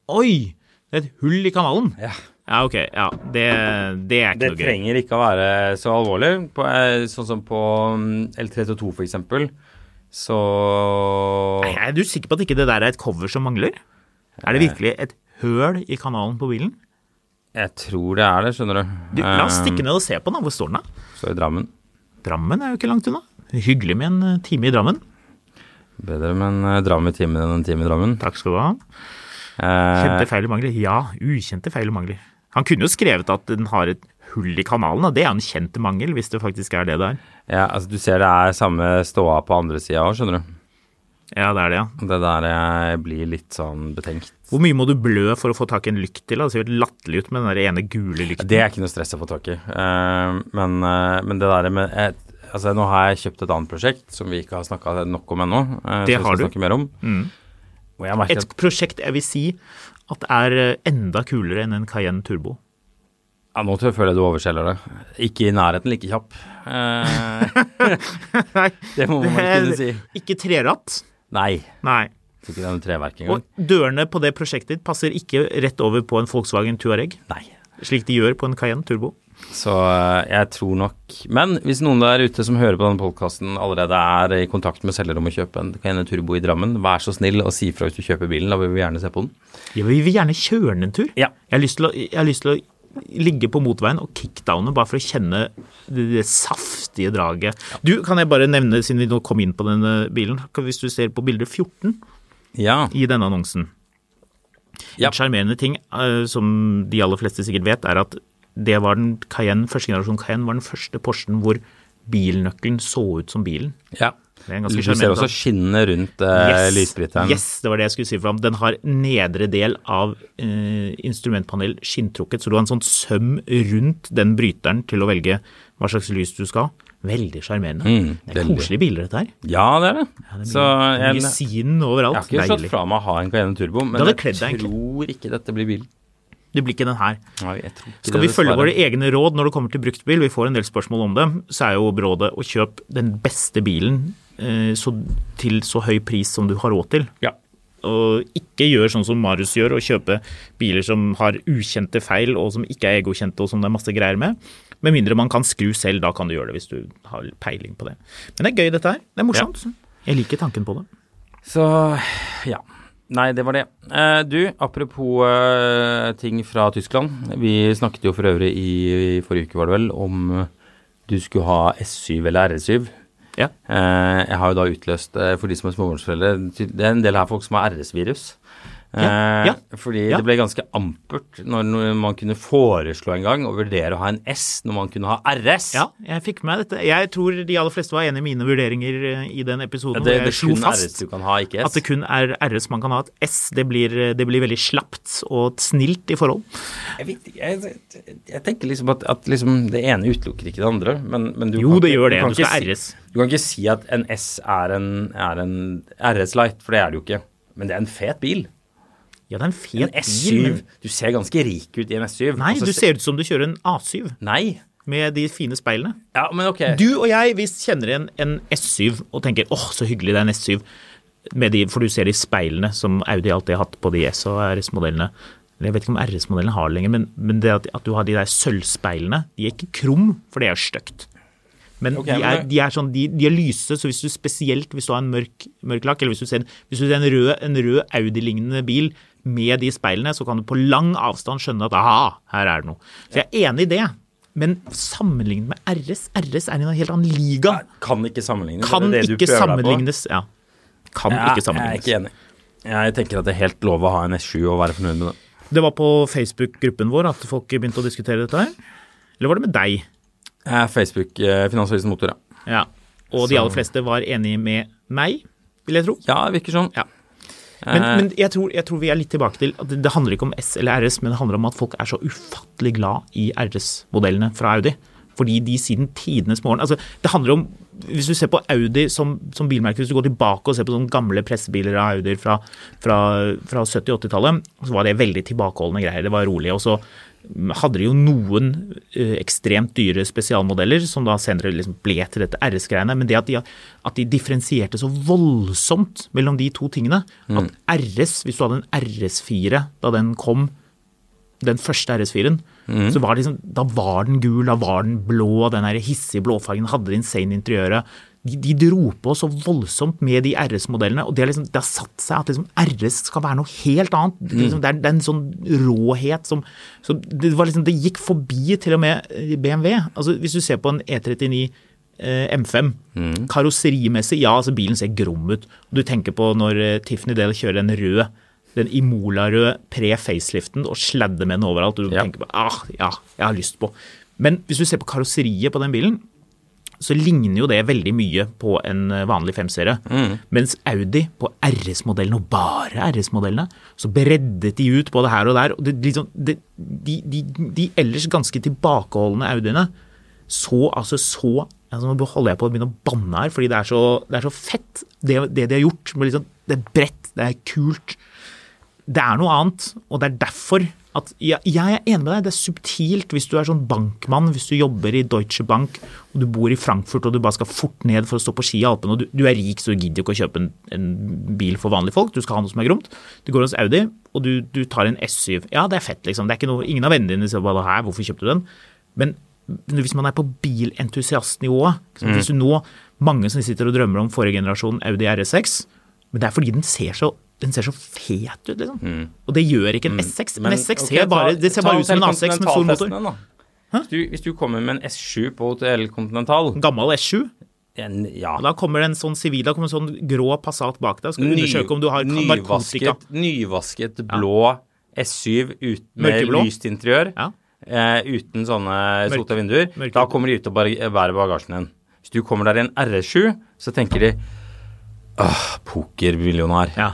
[SPEAKER 3] Oi! Det er et hull i kanalen.
[SPEAKER 2] Ja.
[SPEAKER 3] Ja, ok. Ja, det, det er ikke
[SPEAKER 2] Det
[SPEAKER 3] noe gøy.
[SPEAKER 2] trenger ikke å være så alvorlig. På, eh, sånn som på mm, L322 for eksempel, så
[SPEAKER 3] Nei, Er du sikker på at ikke det der er et cover som mangler? Er
[SPEAKER 2] Eh.
[SPEAKER 3] det virkelig et høl i kanalen på bilen?
[SPEAKER 2] Jeg tror det er det, skjønner du.
[SPEAKER 3] Du, la oss
[SPEAKER 2] Eh,
[SPEAKER 3] stikke ned og se på den. da. Hvor står den, da?
[SPEAKER 2] Så i Drammen.
[SPEAKER 3] Drammen er jo ikke langt unna. Hyggelig med en eh, time i Drammen.
[SPEAKER 2] Bedre med en eh, Drammen i timen enn en time i Drammen.
[SPEAKER 3] Takk skal du ha.
[SPEAKER 2] Eh,
[SPEAKER 3] Kjente feil og mangler. Ja, ukjente feil og mangler. Han kunne jo skrevet at den har et hull i kanalen, og det er en kjent mangel, hvis det faktisk er det det er.
[SPEAKER 2] Ja, altså du ser det er samme ståa på andre sida òg, skjønner du.
[SPEAKER 3] Ja, det er det, ja.
[SPEAKER 2] Det der jeg blir litt sånn betenkt.
[SPEAKER 3] Hvor mye må du blø for å få tak i en lykt til? da? Det ser jo latterlig ut med den der ene gule lykten.
[SPEAKER 2] Det er ikke noe stress å få tak i. Eh, men, eh, men det der med eh, Altså, nå har jeg kjøpt et annet prosjekt som vi ikke har snakka nok om ennå. eh,
[SPEAKER 3] Det
[SPEAKER 2] som vi skal
[SPEAKER 3] har du. Mm.
[SPEAKER 2] snakke Mer om. Og jeg merker
[SPEAKER 3] Et
[SPEAKER 2] at
[SPEAKER 3] prosjekt jeg vil si at er eh, enda kulere enn en Cayenne Turbo.
[SPEAKER 2] ja, Nå tror jeg føler jeg du overselger det. Ikke i nærheten like kjapp. Eh,
[SPEAKER 3] Nei,
[SPEAKER 2] det må man kunne si.
[SPEAKER 3] Ikke treratt.
[SPEAKER 2] Nei.
[SPEAKER 3] Nei.
[SPEAKER 2] Jeg Tror ikke det er noe treverk engang.
[SPEAKER 3] Og dørene på det prosjektet ditt passer ikke rett over på en Volkswagen Tuareg,
[SPEAKER 2] Nei.
[SPEAKER 3] slik de gjør på en Cayenne Turbo.
[SPEAKER 2] Så eh, jeg tror nok Men hvis noen der ute som hører på denne podkasten allerede er i kontakt med selger om å kjøpe en Cayenne Turbo i Drammen, vær så snill og si fra hvis du kjøper bilen. Da vil vi gjerne se på den.
[SPEAKER 3] Ja, vi vil gjerne kjøre den en tur.
[SPEAKER 2] Ja.
[SPEAKER 3] Jeg, har lyst til å, jeg har lyst til å ligge på motorveien og kickdowne bare for å kjenne det, det saftige draget. Du, kan jeg bare nevne, siden vi nå kom inn på denne bilen, kan- hvis du ser på bilde 14
[SPEAKER 2] Ja.
[SPEAKER 3] i denne annonsen.
[SPEAKER 2] Ja.
[SPEAKER 3] En sjarmerende ting eh, som de aller fleste sikkert vet, er at det var den Cayenne, første generasjon Cayenne var den første Porschen hvor bilnøkkelen så ut som bilen.
[SPEAKER 2] ja.
[SPEAKER 3] Det er en
[SPEAKER 2] Du
[SPEAKER 3] ganske
[SPEAKER 2] ser
[SPEAKER 3] sjarmerende
[SPEAKER 2] også skinnet rundt eh, lysbryteren.
[SPEAKER 3] Yes, det var det jeg skulle si for ham. Den har nedre del av eh, instrumentpanel skinntrukket, så du har en sånn søm rundt den bryteren til å velge hva slags lys du skal ha. Veldig sjarmerende.
[SPEAKER 2] Mm,
[SPEAKER 3] det er
[SPEAKER 2] veldig.
[SPEAKER 3] koselige biler, dette her.
[SPEAKER 2] Ja, det er det. Så jeg, jeg
[SPEAKER 3] Lysinen overalt.
[SPEAKER 2] har ikke slått
[SPEAKER 3] Deilig.
[SPEAKER 2] fra meg å ha en Cayenne Turbo, men
[SPEAKER 3] Det hadde
[SPEAKER 2] jeg
[SPEAKER 3] kledd deg egentlig.
[SPEAKER 2] tror ikke dette blir bilen.
[SPEAKER 3] Det blir ikke den her.
[SPEAKER 2] Nei, jeg tror ikke
[SPEAKER 3] Skal
[SPEAKER 2] det,
[SPEAKER 3] vi følge våre
[SPEAKER 2] dessverre.
[SPEAKER 3] egne råd når det kommer til bruktbil, vi får en del spørsmål om det, så er jo rådet å kjøpe den beste bilen eh, så, til så høy pris som du har råd til.
[SPEAKER 2] Ja.
[SPEAKER 3] Og ikke gjør sånn som Marius gjør, og kjøpe biler som har ukjente feil, og som ikke er egokjente, og som det er masse greier med. Med mindre man kan skru selv, da kan du gjøre det, hvis du har peiling på det. Men det er gøy, dette her. Det er morsomt. Jeg liker tanken på det.
[SPEAKER 2] Så ja. Nei, det var det. Eh, du, apropos eh, ting fra Tyskland. Vi snakket jo for øvrig i, i forrige uke, var det vel, om eh, du skulle ha S7 eller RS7.
[SPEAKER 3] Ja.
[SPEAKER 2] Eh, jeg har jo da utløst, eh, for de som er småbarnsforeldre, ty- det er en del her folk som har RS-virus. Eh,
[SPEAKER 3] Ja, ja,
[SPEAKER 2] Fordi
[SPEAKER 3] ja.
[SPEAKER 2] det ble ganske ampert når, når man kunne foreslå en gang å vurdere å ha en S når man kunne ha RS.
[SPEAKER 3] Ja, jeg fikk med meg dette. Jeg tror de aller fleste var enig i mine vurderinger eh, i den episoden.
[SPEAKER 2] Det, det
[SPEAKER 3] hvor jeg
[SPEAKER 2] er
[SPEAKER 3] slo
[SPEAKER 2] kun
[SPEAKER 3] fast.
[SPEAKER 2] RS du kan ha, ikke S.
[SPEAKER 3] At det kun er RS man kan ha. Et S det blir, eh, det blir veldig slapt og snilt i forhold.
[SPEAKER 2] Jeg, vet, ikke, jeg, jeg, jeg tenker liksom at, at liksom det ene utelukker ikke det andre. Men, men du
[SPEAKER 3] Jo,
[SPEAKER 2] kan
[SPEAKER 3] det
[SPEAKER 2] ikke-
[SPEAKER 3] gjør det.
[SPEAKER 2] kan
[SPEAKER 3] Du
[SPEAKER 2] ikke
[SPEAKER 3] skal
[SPEAKER 2] si-
[SPEAKER 3] RS.
[SPEAKER 2] Du kan ikke si at en S er en, er en RS Light, for det er det jo ikke. Men det er en fet bil.
[SPEAKER 3] Ja, det er en
[SPEAKER 2] En
[SPEAKER 3] fet bil.
[SPEAKER 2] S7.
[SPEAKER 3] men- altså
[SPEAKER 2] Du ser ganske rik ut i en S7.
[SPEAKER 3] Nei,
[SPEAKER 2] og så
[SPEAKER 3] du
[SPEAKER 2] se-
[SPEAKER 3] ser ut som du kjører en A7
[SPEAKER 2] Nei.
[SPEAKER 3] med de fine speilene.
[SPEAKER 2] Ja, men ok.
[SPEAKER 3] Du og jeg, vi kjenner igjen en S7 og tenker åh, så hyggelig det er en S7. Med de, for du ser de speilene som Audi alltid har hatt på de S- og RS-modellene. Jeg vet ikke om RS-modellene har det lenger, men, men det at, at du har de der sølvspeilene De er ikke krum, for det er stygt. Men
[SPEAKER 2] Ok,
[SPEAKER 3] de,
[SPEAKER 2] men
[SPEAKER 3] er,
[SPEAKER 2] det-
[SPEAKER 3] de, er sånn, de, de er lyse, så hvis du spesielt hvis du har en mørk, mørk lakk, eller hvis du ser, en- hvis du ser en rød, en rød Audi-lignende bil med de speilene, så kan du på lang avstand skjønne at aha, her er det noe. Så jeg er enig i det. Men sammenlignet med RS, RS er i en helt annen liga.
[SPEAKER 2] kan ikke sammenlignes.
[SPEAKER 3] Kan
[SPEAKER 2] det er det du
[SPEAKER 3] ikke
[SPEAKER 2] prøver deg på.
[SPEAKER 3] sammenlignes. Ja. Kan
[SPEAKER 2] Ja,
[SPEAKER 3] ikke
[SPEAKER 2] Jeg er
[SPEAKER 3] sammenlignes.
[SPEAKER 2] ikke enig. Jeg tenker at det er helt lov å ha en S7 og være fornøyd med det.
[SPEAKER 3] Det var på Facebook-gruppen vår at folk begynte å diskutere dette her. Eller var det med deg?
[SPEAKER 2] Eh, Facebook, eh, Finansavisen Motor, ja.
[SPEAKER 3] Ja. Og de aller fleste var enige med meg, vil jeg tro.
[SPEAKER 2] Ja, det virker sånn.
[SPEAKER 3] Ja. Men, men jeg, tror, jeg tror vi er litt tilbake til at det handler ikke om S eller RS, men det handler om at folk er så ufattelig glad i RS-modellene fra Audi. Fordi de siden tidenes morgen altså det handler om, Hvis du ser på Audi som, som bilmerke, hvis du går tilbake og ser på sånne gamle pressebiler av Audier fra, fra, fra 70- og 80-tallet, så var det veldig tilbakeholdne greier. Det var rolig. Og så hadde de jo noen eh, ekstremt dyre spesialmodeller, som da senere liksom ble til dette RS-greiene. Men det at de, at de differensierte så voldsomt mellom de to tingene At RS, hvis du hadde en RS4 da den kom, den første RS4-en, så var det liksom, da var den gul, da var den blå, den her hissige blåfargen, hadde det insane interiøret. De, de dro på så voldsomt med de RS-modellene, og det har, liksom, det har satt seg at liksom RS skal være noe helt annet. Det, er liksom, det, er, det er en sånn råhet som, som det, var liksom, det gikk forbi til og med eh, BMW. Altså, hvis du ser på en E39 eh, M5. Karosserimessig, ja, altså bilen ser grom ut. Du tenker på når eh, Tiffany Dale kjører den røde, den Imola-røde pre-faceliften og sladder med den overalt. Og du
[SPEAKER 2] Ja.
[SPEAKER 3] tenker på ah, ja, jeg har lyst på. Men hvis du ser på karosseriet på den bilen, så ligner jo det veldig mye på en eh, vanlig 5-serie. Mens Audi på RS-modellene, og bare RS-modellene, så breddet de ut både her og der. Og det, liksom, det, de, de, de ellers ganske tilbakeholdne Audiene så altså så altså Nå holder jeg på å begynne å banne her, fordi det er så, det er så fett, det, det de har gjort. med Liksom, det er bredt, det er kult. Det er noe annet, og det er derfor at ja, Jeg er enig med deg, det er subtilt hvis du er sånn bankmann, hvis du jobber i Deutsche Bank og du bor i Frankfurt og du bare skal fort ned for å stå på ski i Alpene, og du, du er rik så du gidder jo ikke å kjøpe en, en bil for vanlige folk, du skal ha noe som er gromt. Du går hos Audi og du, du tar en S7. Ja, det er fett, liksom. Det er ikke noe, ingen av vennene dine sier bare her, hvorfor kjøpte du den? Men hvis man er på bilentusiastnivået, ikke sant? hvis du nå mange som sitter og drømmer om forrige generasjon Audi RS6, men det er fordi den ser så, den ser så fet ut, liksom.
[SPEAKER 2] Mm.
[SPEAKER 3] Og det gjør ikke en S6. En S6 ser bare, det ser bare ut som en A6 med stor motor.
[SPEAKER 2] Hvis du, hvis du kommer med en S7 på Hotell Continental
[SPEAKER 3] En gammel S7.
[SPEAKER 2] en, Ja.
[SPEAKER 3] Og da kommer det en sånn sivil, da kommer en sånn grå Passat bak deg. Skal du undersøke om du har narkotika.
[SPEAKER 2] nyvasket, nyvasket blå S7 ut med
[SPEAKER 3] Mørkeblå.
[SPEAKER 2] lyst interiør,
[SPEAKER 3] Ja.
[SPEAKER 2] eh, uten sånne sota vinduer.
[SPEAKER 3] Mørkeblå.
[SPEAKER 2] Da kommer de ut og bare bærer bagasjen din. Hvis du kommer der i en RS7, så tenker de Åh, pokermillionær.
[SPEAKER 3] Ja.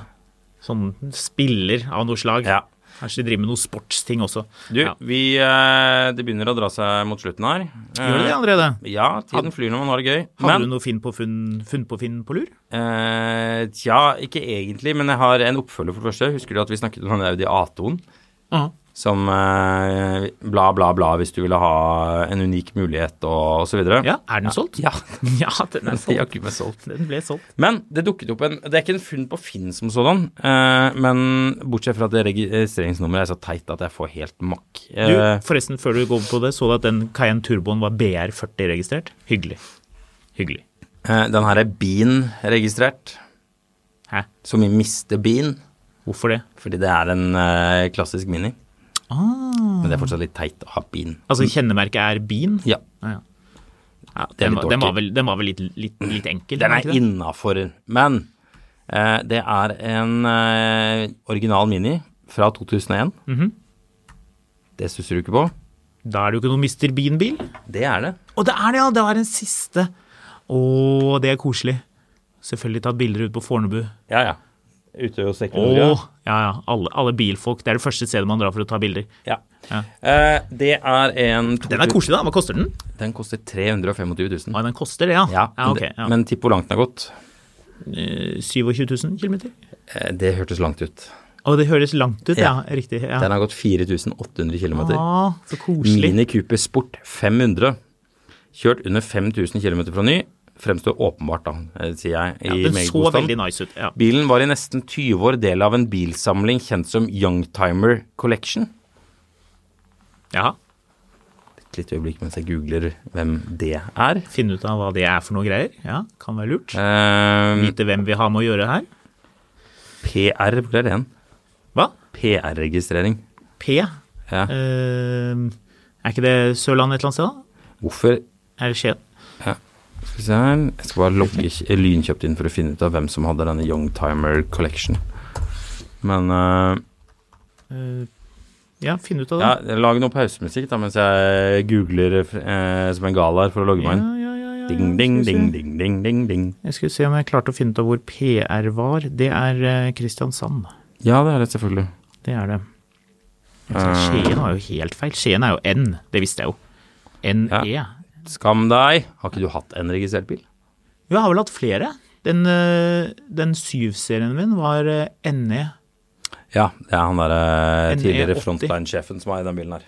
[SPEAKER 3] Sånn spiller av noe slag.
[SPEAKER 2] Ja.
[SPEAKER 3] Kanskje de driver med noen sportsting også.
[SPEAKER 2] Du,
[SPEAKER 3] ja.
[SPEAKER 2] vi eh, Det begynner å dra seg mot slutten her. Eh,
[SPEAKER 3] Gjør de det allerede?
[SPEAKER 2] Ja, tiden flyr når man har det gøy.
[SPEAKER 3] Hadde
[SPEAKER 2] Mm. Men
[SPEAKER 3] du noe Finn på funn, funn på Finn på lur?
[SPEAKER 2] eh, Tja, ikke egentlig, men jeg har en oppfølger, for det første. Husker du at vi snakket om den Audi A2-en? Som eh, bla, bla, bla hvis du ville ha en unik mulighet og, og så videre.
[SPEAKER 3] Ja, er den solgt?
[SPEAKER 2] Ja,
[SPEAKER 3] Ja, den er
[SPEAKER 2] det har
[SPEAKER 3] solgt.
[SPEAKER 2] ikke blitt solgt.
[SPEAKER 3] Den ble solgt.
[SPEAKER 2] Men det dukket opp en Det er ikke en funn på Finn som sådan, eh, men bortsett fra at det registreringsnummeret er så teit at jeg får helt makk.
[SPEAKER 3] Du,
[SPEAKER 2] Eh,
[SPEAKER 3] forresten, før du går på det, så du at den Cayenne Turboen var BR40-registrert? Hyggelig. Hyggelig.
[SPEAKER 2] eh, den her er Bean-registrert,
[SPEAKER 3] Hæ?
[SPEAKER 2] som i Miste Bean,
[SPEAKER 3] Hvorfor det?
[SPEAKER 2] fordi det er en eh, klassisk Mini. Men det er fortsatt litt teit å ha Bean.
[SPEAKER 3] Altså, kjennemerket er bin?
[SPEAKER 2] Ja,
[SPEAKER 3] Ah, Ah. ja. Ja,
[SPEAKER 2] det er
[SPEAKER 3] den,
[SPEAKER 2] litt
[SPEAKER 3] var- den var
[SPEAKER 2] dorky.
[SPEAKER 3] vel, den var vel litt, litt, litt enkel?
[SPEAKER 2] Den
[SPEAKER 3] var
[SPEAKER 2] er
[SPEAKER 3] ikke det?
[SPEAKER 2] innafor, men eh, det er en eh, original Mini fra 2001.
[SPEAKER 3] Mhm.
[SPEAKER 2] Det stusser du ikke på.
[SPEAKER 3] Da er det jo ikke noe Mr. Bean-bil.
[SPEAKER 2] Det er det.
[SPEAKER 3] Og det er det, ja! Det var den siste. Å, det er koselig. Selvfølgelig tatt bilder ut på Fornebu.
[SPEAKER 2] Ja, ja. Ute hos Ekvinoria.
[SPEAKER 3] Å, ja, ja. Alle, alle bilfolk. Det er det første stedet man drar for å ta bilder.
[SPEAKER 2] Ja.
[SPEAKER 3] Ja.
[SPEAKER 2] Eh, det er en
[SPEAKER 3] Den er koselig, da. Hva koster den?
[SPEAKER 2] Den koster 325 000.
[SPEAKER 3] Å, den koster det, ja.
[SPEAKER 2] Ja,
[SPEAKER 3] ja,
[SPEAKER 2] men det-
[SPEAKER 3] ok, ja.
[SPEAKER 2] Men tipp hvor langt den har gått.
[SPEAKER 3] 27 000 km?
[SPEAKER 2] Eh, det hørtes langt ut.
[SPEAKER 3] Å, det høres langt ut, ja.
[SPEAKER 2] Ja.
[SPEAKER 3] Riktig. Ja.
[SPEAKER 2] Den har gått 4800 km.
[SPEAKER 3] Ah, så koselig.
[SPEAKER 2] Mini Cooper Sport 500. Kjørt under 5000 km fra ny. Fremstår åpenbart, da, eh, sier jeg. I
[SPEAKER 3] ja, den
[SPEAKER 2] meget
[SPEAKER 3] så
[SPEAKER 2] god stand.
[SPEAKER 3] veldig nice ut. Ja.
[SPEAKER 2] Bilen var i nesten 20 år del av en bilsamling kjent som Youngtimer Collection.
[SPEAKER 3] Jaha.
[SPEAKER 2] Et lite øyeblikk mens jeg googler hvem det er.
[SPEAKER 3] Finne ut av hva det er for noe greier. Ja, Kan være lurt.
[SPEAKER 2] Eh,
[SPEAKER 3] Vite hvem vi har med å gjøre her.
[SPEAKER 2] PR, hvor er det igjen?
[SPEAKER 3] Hva?
[SPEAKER 2] PR-registrering.
[SPEAKER 3] P.
[SPEAKER 2] Ja.
[SPEAKER 3] Eh, er ikke det Sørlandet et eller annet sted, da?
[SPEAKER 2] Hvorfor
[SPEAKER 3] Er det Skien?
[SPEAKER 2] Skal vi se her. Jeg skal bare logge lynkjøpt inn for å finne ut av hvem som hadde denne Youngtimer Collection. Men eh,
[SPEAKER 3] Eh, ja, finne ut av det.
[SPEAKER 2] ja, lag noe pausemusikk da mens jeg googler eh, som en galar for å logge meg inn.
[SPEAKER 3] ja, ja, ja,
[SPEAKER 2] Ding, ding, ding, ding, ding, ding, ding.
[SPEAKER 3] Jeg skulle se om jeg klarte å finne ut av hvor PR var. Det er eh, Kristiansand.
[SPEAKER 2] Ja, det er det selvfølgelig.
[SPEAKER 3] Det er det. Jeg sa
[SPEAKER 2] Ah.
[SPEAKER 3] Skien var jo helt feil. Skien er jo N, det visste jeg jo. E. NE.
[SPEAKER 2] Ja. Skam deg. Har ikke du hatt en registrert bil?
[SPEAKER 3] Jo, Jeg har vel hatt flere. Den, eh, den syv-serien min var eh, NE.
[SPEAKER 2] Ja, det er han derre
[SPEAKER 3] NE80.
[SPEAKER 2] tidligere frontline-sjefen som eier den bilen her.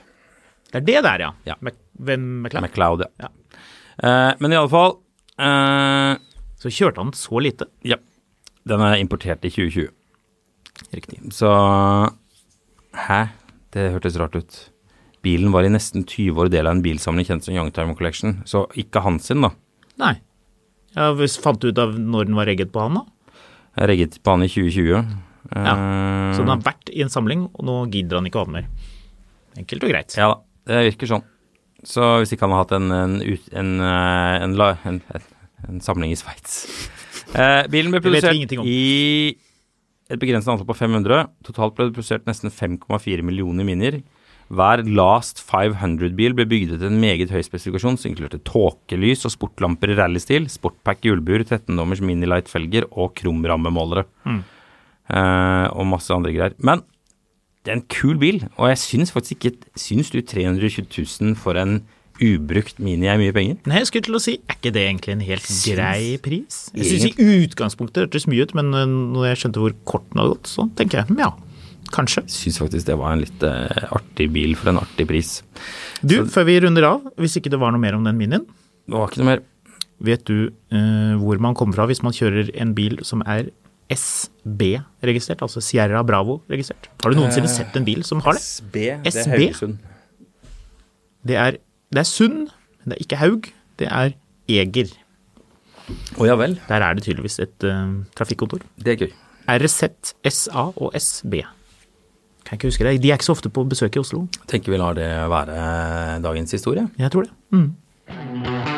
[SPEAKER 3] Det er det der, ja.
[SPEAKER 2] Ja.
[SPEAKER 3] Mac- Hvem McLaren?
[SPEAKER 2] McLeod, ja. Eh, men i alle fall eh,
[SPEAKER 3] Så kjørte han så lite.
[SPEAKER 2] Ja. Den er importert i 2020.
[SPEAKER 3] Riktig.
[SPEAKER 2] Så Hæ? Det hørtes rart ut. Bilen var i nesten 20 år del av en bilsamling kjent som Youngtimer Collection, så ikke hans sin, da.
[SPEAKER 3] Nei. Jeg hvis- fant ut av når den var regget på han, da.
[SPEAKER 2] Jeg regget på han i 2020.
[SPEAKER 3] Ja.
[SPEAKER 2] Eh,
[SPEAKER 3] Så den har vært i en samling, og nå gidder han ikke å ha den mer. Enkelt og greit.
[SPEAKER 2] Ja da, det virker sånn. Så hvis ikke han har hatt en, en, ut- en, eh, en, la- en, en, en samling i Sveits eh, Bilen ble
[SPEAKER 3] Det vet vi
[SPEAKER 2] produsert
[SPEAKER 3] ingenting om.
[SPEAKER 2] i et begrenset antall på 500. Totalt ble det produsert nesten 5,4 millioner minier. Hver Last 500-bil ble bygd til en meget høy spesifikasjon som inkluderte tåkelys og sportlamper i rallystil, sportpack hjulbuer, 13-dommers minilight-felger og krumrammemålere.
[SPEAKER 3] Mm.
[SPEAKER 2] Eh, og masse andre greier. Men det er en kul bil, og jeg syns faktisk ikke Syns du 320 000 for en ubrukt Mini er mye penger?
[SPEAKER 3] Nei, jeg skulle til å si, er ikke det egentlig en helt
[SPEAKER 2] Syns-
[SPEAKER 3] grei pris? Jeg syns i utgangspunktet hørtes mye ut, men eh, når jeg skjønte hvor kort den hadde gått, så tenker jeg hm, ja, kanskje.
[SPEAKER 2] Syns faktisk det var en litt eh, artig bil for en artig pris.
[SPEAKER 3] Du, før vi runder av, hvis ikke det var noe mer om den minien,
[SPEAKER 2] Det var ikke noe mer.
[SPEAKER 3] vet du eh, hvor man kommer fra hvis man kjører en bil som er SB-registrert, altså Sierra Bravo-registrert? Har du noensinne sett en bil som har det?
[SPEAKER 2] SB, det er
[SPEAKER 3] SB?
[SPEAKER 2] Haugesund.
[SPEAKER 3] Det er, det er Sund, men det er ikke Haug, det er Eger.
[SPEAKER 2] Å ja vel.
[SPEAKER 3] Der er det tydeligvis et eh, trafikkontor.
[SPEAKER 2] Det er gøy.
[SPEAKER 3] RZ, SA og SB. Kan jeg ikke huske det. De er ikke så ofte på besøk i Oslo.
[SPEAKER 2] Tenker vi lar det være eh, dagens historie.
[SPEAKER 3] Jeg tror det. Mm.